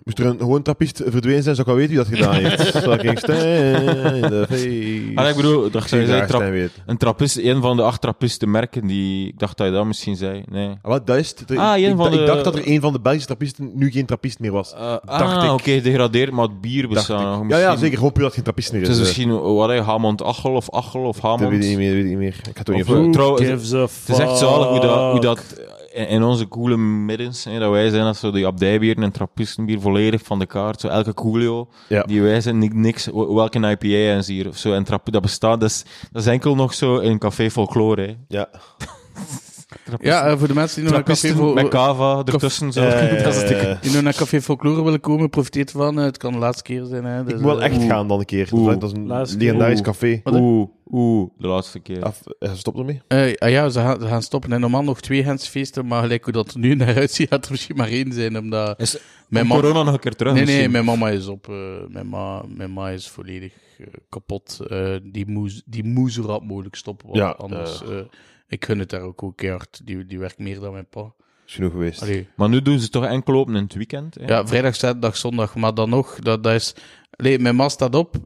Moest er een gewoon trappist verdwenen zijn, zou ik wel weten wie dat gedaan heeft. Zou ik zeggen, Stijn in de face. Ah, nee, ik bedoel, dacht, Zie je je zei daar, trap- Stijn weet. een trappist, een van de acht trappistenmerken die... Ik dacht dat je dat misschien zei. Nee. Ah, wat, dat is het. Ah, een ik, van ik de- dacht dat er een van de Belgische trappisten nu geen trappist meer was. Eh, Dacht ah, ik. oké, degradeert, maar het bier Dacht bestaat nog. ik. Ja, ja, Misschien- zeker. Gewoon puur dat geen trappist meer Het is. is Eh, misschien, eh, wat hij, Hamond Achel of Achel of Dat weet ik Hamond. niet meer, weet ik niet meer. Ik had toch Of, niet eh, voor. trouw- het Gives a fuck. is echt zalig hoe dat, hoe dat in, in onze coole middens, hè, dat wij zijn, dat zo die abdijbieren en trappistenbier volledig van de kaart, zo elke coolio. Ja. Die wij zijn ni- niks, wel- welke IPA en hier of Eh, zo. En trap, dat bestaat, dat is, dat is enkel nog zo in Café Folklore. Hè. Ja. Ja, eh, voor de mensen die nog naar Café, Trappisten Fol- met cava ertussen. Zo. Eh, dat is het dikke. die nog naar Café Folklore willen komen, profiteert van. eh, Het kan de laatste keer zijn. Hè, dus, Ik wil eh, echt Oeh. gaan dan een keer. Oeh. Dat is een Laatste keer. legendarisch Oeh. café. Wat, hè? Oeh, oeh, de laatste keer. Af- eh, Stop ermee. eh, ah ja, ze gaan, ze gaan stoppen. En normaal nog twee Hensfeesten, maar gelijk hoe dat er nu naar uitziet, gaat er misschien maar één zijn. Omdat Is mijn Komt ma- corona nog een keer terug Nee, nee, misschien? mijn mama is op. eh, mijn, ma, mijn ma is volledig eh, kapot. Eh, die, moes, die moest zo rap mogelijk stoppen. Want Ja, anders. eh, ik gun het daar ook ook keihard. Die, die werkt meer dan mijn pa. Is genoeg geweest. Allee. Maar nu doen ze toch enkel open in het weekend. Hè? Ja, vrijdag, zaterdag, zondag. Maar dan nog, dat, dat is... Allee, mijn ma staat op.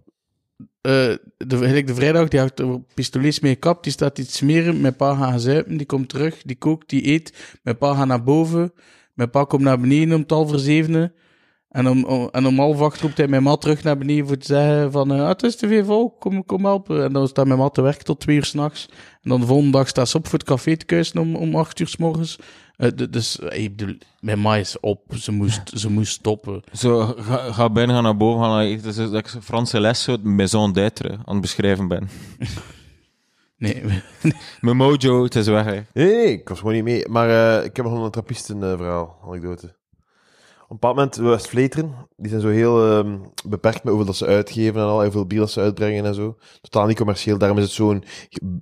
Eh, de, gelijk de vrijdag, die had er pistolets mee gekapt. Die staat iets smeren. Mijn pa gaat zuipen. Die komt terug. Die kookt, die eet. Mijn pa gaat naar boven. Mijn pa komt naar beneden om tal voor zevenen. En om, om- en om half acht roept hij mijn ma terug naar beneden voor te zeggen van... eh, ah, het is te veel volk, kom, kom helpen. En dan staat mijn ma te werken tot twee uur s'nachts. En dan de volgende dag staat ze op voor het café te kuisen om, om acht uur s morgens. Eh, d- dus eh, ik bedoel, mijn ma is op. Ze moest, ze moest stoppen. Zo, ga, ga binnen, ga naar boven, gaan eten. Het is dat ik Franse les, zo het maison d'être hè, aan het beschrijven ben. Nee, Mijn mojo, het is weg. Hè. Nee, nee, nee, ik was gewoon niet mee. Maar eh, ik heb nog een trappisten-verhaal, eh, anekdote. Op een bepaald moment, West Vleteren, die zijn zo heel ehm, beperkt met hoeveel dat ze uitgeven en al, en hoeveel bier dat ze uitbrengen en zo. Totaal niet commercieel, daarom is het zo'n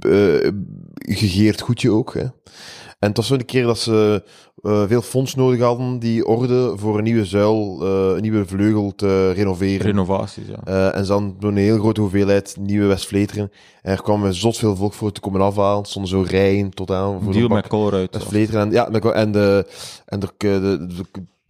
eh, gegeerd goedje ook. Hè. En het was zo'n keer dat ze eh, veel fonds nodig hadden, die orde, voor een nieuwe zuil, eh, een nieuwe vleugel te renoveren. Renovaties, ja. Eh, en ze hadden een hele grote hoeveelheid nieuwe Westvleteren. En er kwam zot veel volk voor te komen afhalen. Stonden zo rijen tot aan. Voor Deal een met pak Colruyt. of- Westvleteren. En, ja, en de, en, de, en de, de- de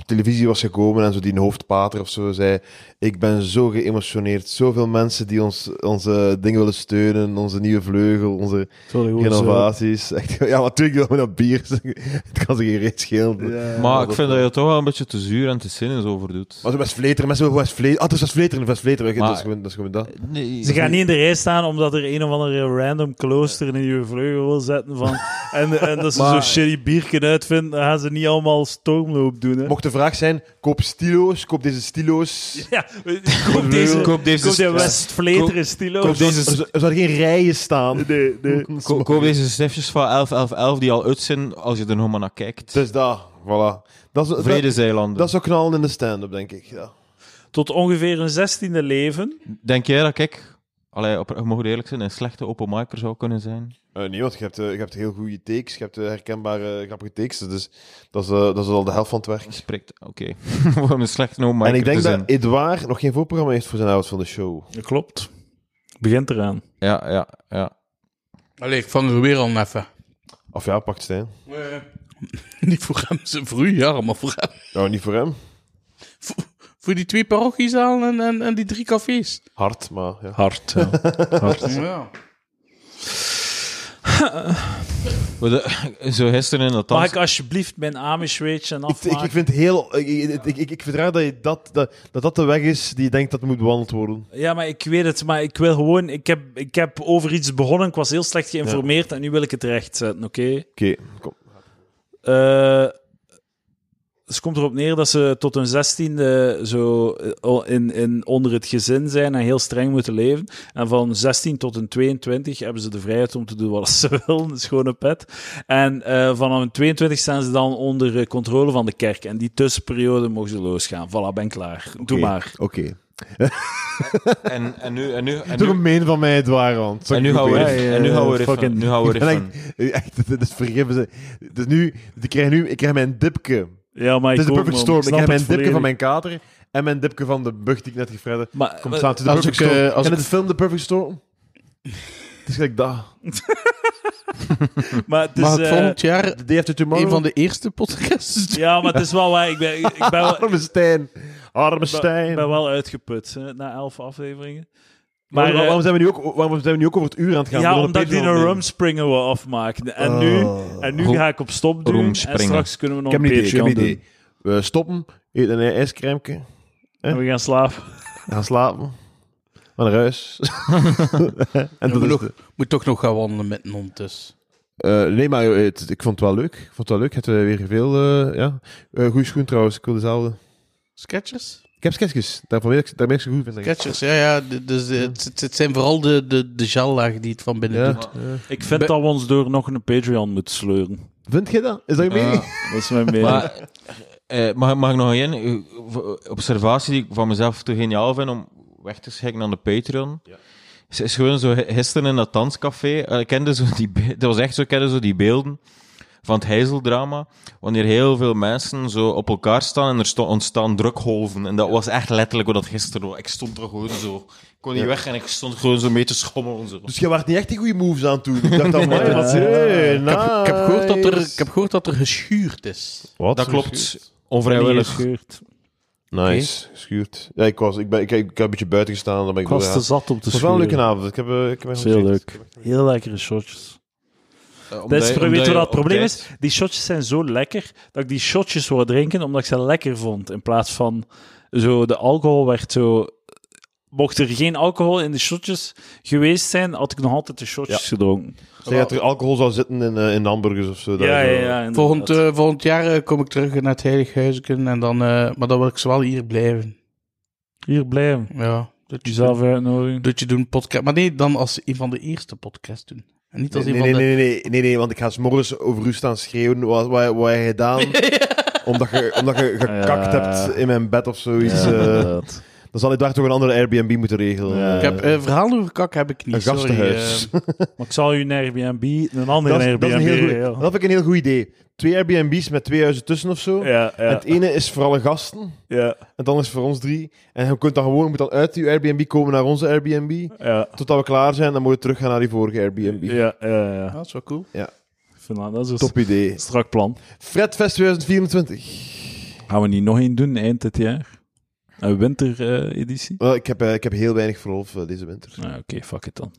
televisie was gekomen en zo die hoofdpater of zo zei... Ik ben zo geëmotioneerd. Zoveel mensen die ons, onze dingen willen steunen. Onze nieuwe vleugel, onze Sorry, hoor, zo. innovaties. Echt, ja, natuurlijk doen we dat bier. Het kan ze geen reet schelen. Maar ik vind dat je er toch wel een beetje te zuur en te zinnig over doet. Maar zo Westvleteren, mensen willen Westvleteren. Ah, het is Westvleteren, Westvleteren. Dat is Maar- gewoon dat. Is gewoon dat. Nee, Ze gaan niet in de rij staan omdat er een of andere random klooster in je vleugel wil zetten. Van, en, en dat ze Maar- zo'n shitty bier kunnen uitvinden, dan gaan ze niet allemaal stormloop doen. Hè. Mocht de vraag zijn, koop stilo's, koop deze stilo's. Ja, koop deze, Koop deze- koop die ja. West Vleteren stilo. Koop Er, deze, zou- er zouden geen rijen staan. Nee, nee. ko- koop deze snifjes van 11, 11, 11 die al uit zijn als je er nog maar naar kijkt. Dus daar, voilà. Dat is, dat, Vredezeilanden. dat zou knallen in de stand-up, denk ik. Ja. Tot ongeveer een zestiende leven. Denk jij dat ik, allee, op, we mogen eerlijk zijn, een slechte open micer zou kunnen zijn? Eh, nee, want je hebt, eh, je hebt heel goede takes, je hebt eh, herkenbare, eh, grappige takes. Dus dat is, eh, dat is al de helft van het werk. Spreekt, oké. Om een slechte open micer en ik denk te zijn. dat Edouard nog geen voorprogramma heeft voor zijn avond van de show. Dat klopt. Begint eraan. Ja, ja, ja. Allee, ik vang er weer al even. Of ja, pakt Stijn. Niet Eh. voor hem, ze voor u, ja, maar voor hem. Nou, niet voor hem. Voor die twee parochiezalen en, en, en die drie cafés. Hard, maar ja. Hard. Ja. Ja. Maar de- Zo gisteren in dat Mag dans... ik alsjeblieft mijn Amish Rage en Ik, ik, afmaken? ik vind het heel... Ik, ik, ik, ik- ik verdraag dat, je dat, dat, dat dat de weg is die je denkt dat moet bewandeld worden. Ja, maar ik weet het. Maar ik wil gewoon... Ik heb, ik heb over iets begonnen. Ik was heel slecht geïnformeerd. En nu wil ik het rechtzetten, oké? Oké, kom. Eh, ze komt erop neer dat ze tot hun zestiende zo eh, al in, in, onder het gezin zijn en heel streng moeten leven. En van 16 tot hun 22 hebben ze de vrijheid om te doen wat ze willen, een schone pet. En eh vanaf hun 22 staan ze dan onder eh, controle van de kerk. En die tussenperiode mogen ze losgaan. Voilà, ben klaar. Doe Oké, maar. Oké. En, en nu... En nu, en Doe nu gemeen van mij, Edouard. want het en zou nu ik gaan we niet Ja, riffen. ja, En nu gaan we ja, riffen. fucking- Nu gaan we doen. En riffen. ik- Echt, dit is vergeven ze. Dus nu, ik krijg nu, ik krijg mijn dipke. Ja, maar Het is ik de ook, man. perfect storm. Ik snap krijg het mijn dipke van volledig. mijn kater en mijn dipke van de bug die ik net gefred heb. Maar, Komt maar- samen, het is de als perfect ik, eh, storm. als Ken je ik- de film The Perfect Storm? Het is gelijk dat. maar het is... maar het eh, volgend jaar The Day After Tomorrow. een van de eerste podcasts. ja, maar het is wel waar. Ik ben, ik ben wel... Arme Stijn. Arme Stijn. Ik ben wel uitgeput hè, na elf afleveringen. Maar, Maar, eh, waarom, zijn we nu ook, waarom zijn we nu ook over het uur aan het gaan? ja, Door een omdat die Patreon een ding. rumspringer wil afmaken. En nu, Oh. en nu Rum- ga ik op stop doen. En rumspringen. straks kunnen we nog Ik heb een een idee, ik heb Patreon een doen. idee. We stoppen, eten een ijscrème, En we gaan slapen. gaan slapen, gaan naar huis. en En dat moet, is nog, de- moet toch nog gaan wandelen met een hond dus. Eh, nee, maar eh, het- ik vond het wel leuk. Ik vond het wel leuk. Het eh, weer veel. eh, ja. Eh goeie schoen trouwens. Ik wil dezelfde. Sketchers? Ik heb sketchjes. Daarvan weet ik, daar ben ik zo goed van. denk ik. Sketchers, ja, ja. d- Dus eh, het, het- het zijn vooral de, de, de gellaag die het van binnen Ja. doet. ja. Ik vind dat we ons door nog een Patreon moeten sleuren. Vind jij dat? Is dat je Ja. mening? Dat is mijn mening. Maar, eh, mag, mag ik nog één eh, v- observatie die ik van mezelf te geniaal vind om weg te schikken aan de Patreon? Ze is gewoon zo g- gisteren in dat danscafé. eh, ik kende zo die, be- dat was echt zo, ik kende zo die beelden van het heizeldrama. Wanneer heel veel mensen zo op elkaar staan en er sto- ontstaan drukgolven. En dat was echt letterlijk hoe dat gisteren was. Ik stond er gewoon zo. Ik kon niet weg en ik stond gewoon zo mee te schommelen. Zo. Dus je waart niet echt die goede moves aan toe. Ik dacht dan, man, wat Ik heb, ik, heb gehoord dat er, ik heb gehoord dat er geschuurd is. Wat? dat klopt. Onvrijwillig. gescheurd. Nice, geschuurd. Ja, ik, was, ik, ben, ik, ik heb een beetje buiten gestaan. Dan ben Ik ik was te Het zat op de was wel een schuren. leuke avond. Ik heb, eh, ik heb Dat is heel leuk. Heel lekkere shotjes. Eh, omdat Dat is, weet je- je wat omdat je het op probleem tijd- is? Die shotjes zijn zo lekker dat ik die shotjes wou drinken omdat ik ze lekker vond. In plaats van zo, de alcohol werd zo. Mocht er geen alcohol in de shotjes geweest zijn, had ik nog altijd de shotjes gedronken. Zeg dat er alcohol zou zitten in, eh, in hamburgers of zo. daar Ja, zo. ja, ja. inderdaad. Volgend, eh, volgend jaar eh, kom ik terug naar het Heilig Huisken en dan, eh, maar dan wil ik zowel hier blijven. Hier blijven. Ja, dat je, Jezelf uitnodigen. dat je doen podcast. Maar nee, dan als een van de eerste podcasts doen. En niet als Nee, een nee, nee, van nee, nee, nee, nee, want ik ga s'morgens over u staan schreeuwen. Wat, wat, wat heb je gedaan? Omdat je, omdat je gekakt Ja. hebt in mijn bed of zoiets. eh, inderdaad. dan zal ik daar toch een andere Airbnb moeten regelen. Ja. Eh, de... Ik heb, eh, verhaal over kak heb ik niet. een sorry, gastenhuis. eh. Maar ik zal u een Airbnb, een andere dat, is, Airbnb. dat, is een heel goed, dat ja. vind ik een heel goed idee. Twee Airbnb's met twee huizen tussen of zo. Ja, En ja, het ene is voor alle gasten. ja, En dan is het voor ons drie. En je kunt dan gewoon, je moet dan uit die Airbnb komen naar onze Airbnb. ja, Totdat we klaar zijn, dan moet je terug gaan naar die vorige Airbnb. ja, ja, Ja, ja. dat is wel cool. Ik vind dat, dat is een Top idee. strak plan. Fredfest 2024. Gaan we niet nog één doen eind dit jaar? Een wintereditie? Wel, ik, heb, eh, ik heb heel weinig voor Rolf eh, deze winter. nou, Oké, fuck it dan.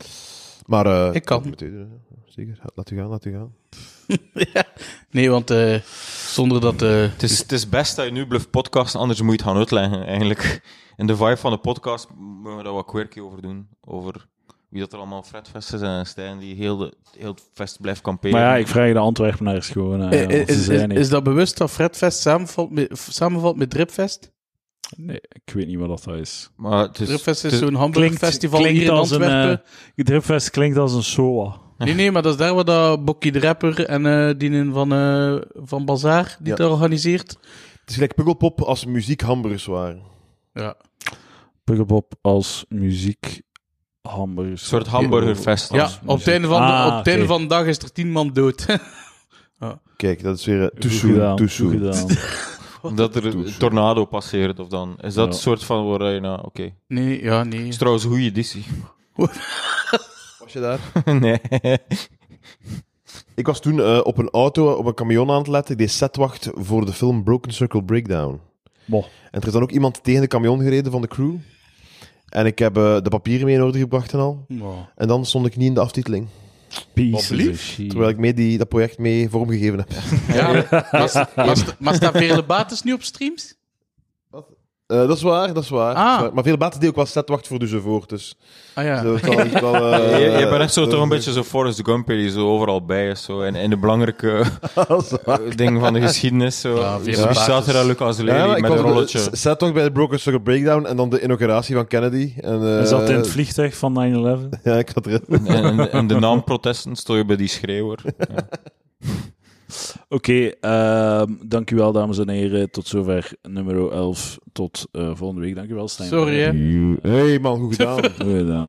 Maar eh, Ik kan. dat moet u doen, hè. Zeker. Laat u gaan, laat u gaan. Nee, want eh, zonder dat... eh, Het is, het is best dat je nu blijft podcasten, anders moet je het gaan uitleggen eigenlijk. In de vibe van de podcast moeten we daar wat quirky over doen. Over wie dat er allemaal fretvesten zijn en Stijn die heel, de, heel het fest blijft kamperen. Maar ja, ik vraag de Antwerpenaars gewoon. eh, eh, want ze is, is, zijn niet. is dat bewust dat Fredfest samenvalt met, samenvalt met Dripfest? Nee, ik weet niet wat dat is. Maar Dus het is, Dripfest het is zo'n hamburgerfestival hier in Antwerpen. Een, eh, Dripfest klinkt als een SOA. Nee, nee, maar dat is daar wat dat Bokkie de Rapper en eh die in van, eh, van Bazaar die Ja. dat organiseert. Het is gelijk Pukkelpop als muziek hamburgers waren. Ja. Pukkelpop als muziek hamburger. een soort hamburgerfest. ja, Als- op het einde van, Ah, de, op het einde oké. van de dag is er tien man dood. Kijk, dat is weer... eh, Too Goed soon, gedaan, too goed soon. gedaan. Omdat er een tornado passeert of dan. Is dat Ja. een soort van waar je nou, oké. Het nee, ja, nee. is trouwens een goede editie. Was je daar? nee. Ik was toen eh, op een auto, op een camion aan het letten. Ik deed setwacht voor de film Broken Circle Breakdown. Boh. En er is dan ook iemand tegen de camion gereden van de crew. En ik heb eh, de papieren mee in orde gebracht en al. Oh. En dan stond ik niet in de aftiteling. Pieces lief. of shit. Terwijl ik mee die, dat project mee vormgegeven heb. Ja, maar, sta- maar, sta- maar staat Veerle Bates nu op streams? Eh, dat is waar, dat is waar. Ah. Dat is waar. Maar veel baten deed ook wel setwacht voor dus voort. Dus Ah ja. dat kan ik wel... Je, eh, je bent echt zo toch eh, een beetje zo Forrest Gump die zo overal bij is. Zo, en, en de belangrijke eh, dat is waar. dingen van de geschiedenis. Zo. Ja, Dus veel wie staat er basis. aan Lucas Lely maar ik met een was op de- rolletje? s- setwacht bij de Broken Circle Breakdown en dan de inauguratie van Kennedy. En, eh, Hij zat in het vliegtuig van 9-11. Ja, ik had er... En, en, en de naamprotesten stond je bij die schreeuwer. Ja. Oké, ehm dank u wel, dames en heren. Tot zover nummer 11. Tot eh, volgende week. Dank u wel, Stijn. Sorry, hè. Hey man, goed gedaan. Goed gedaan.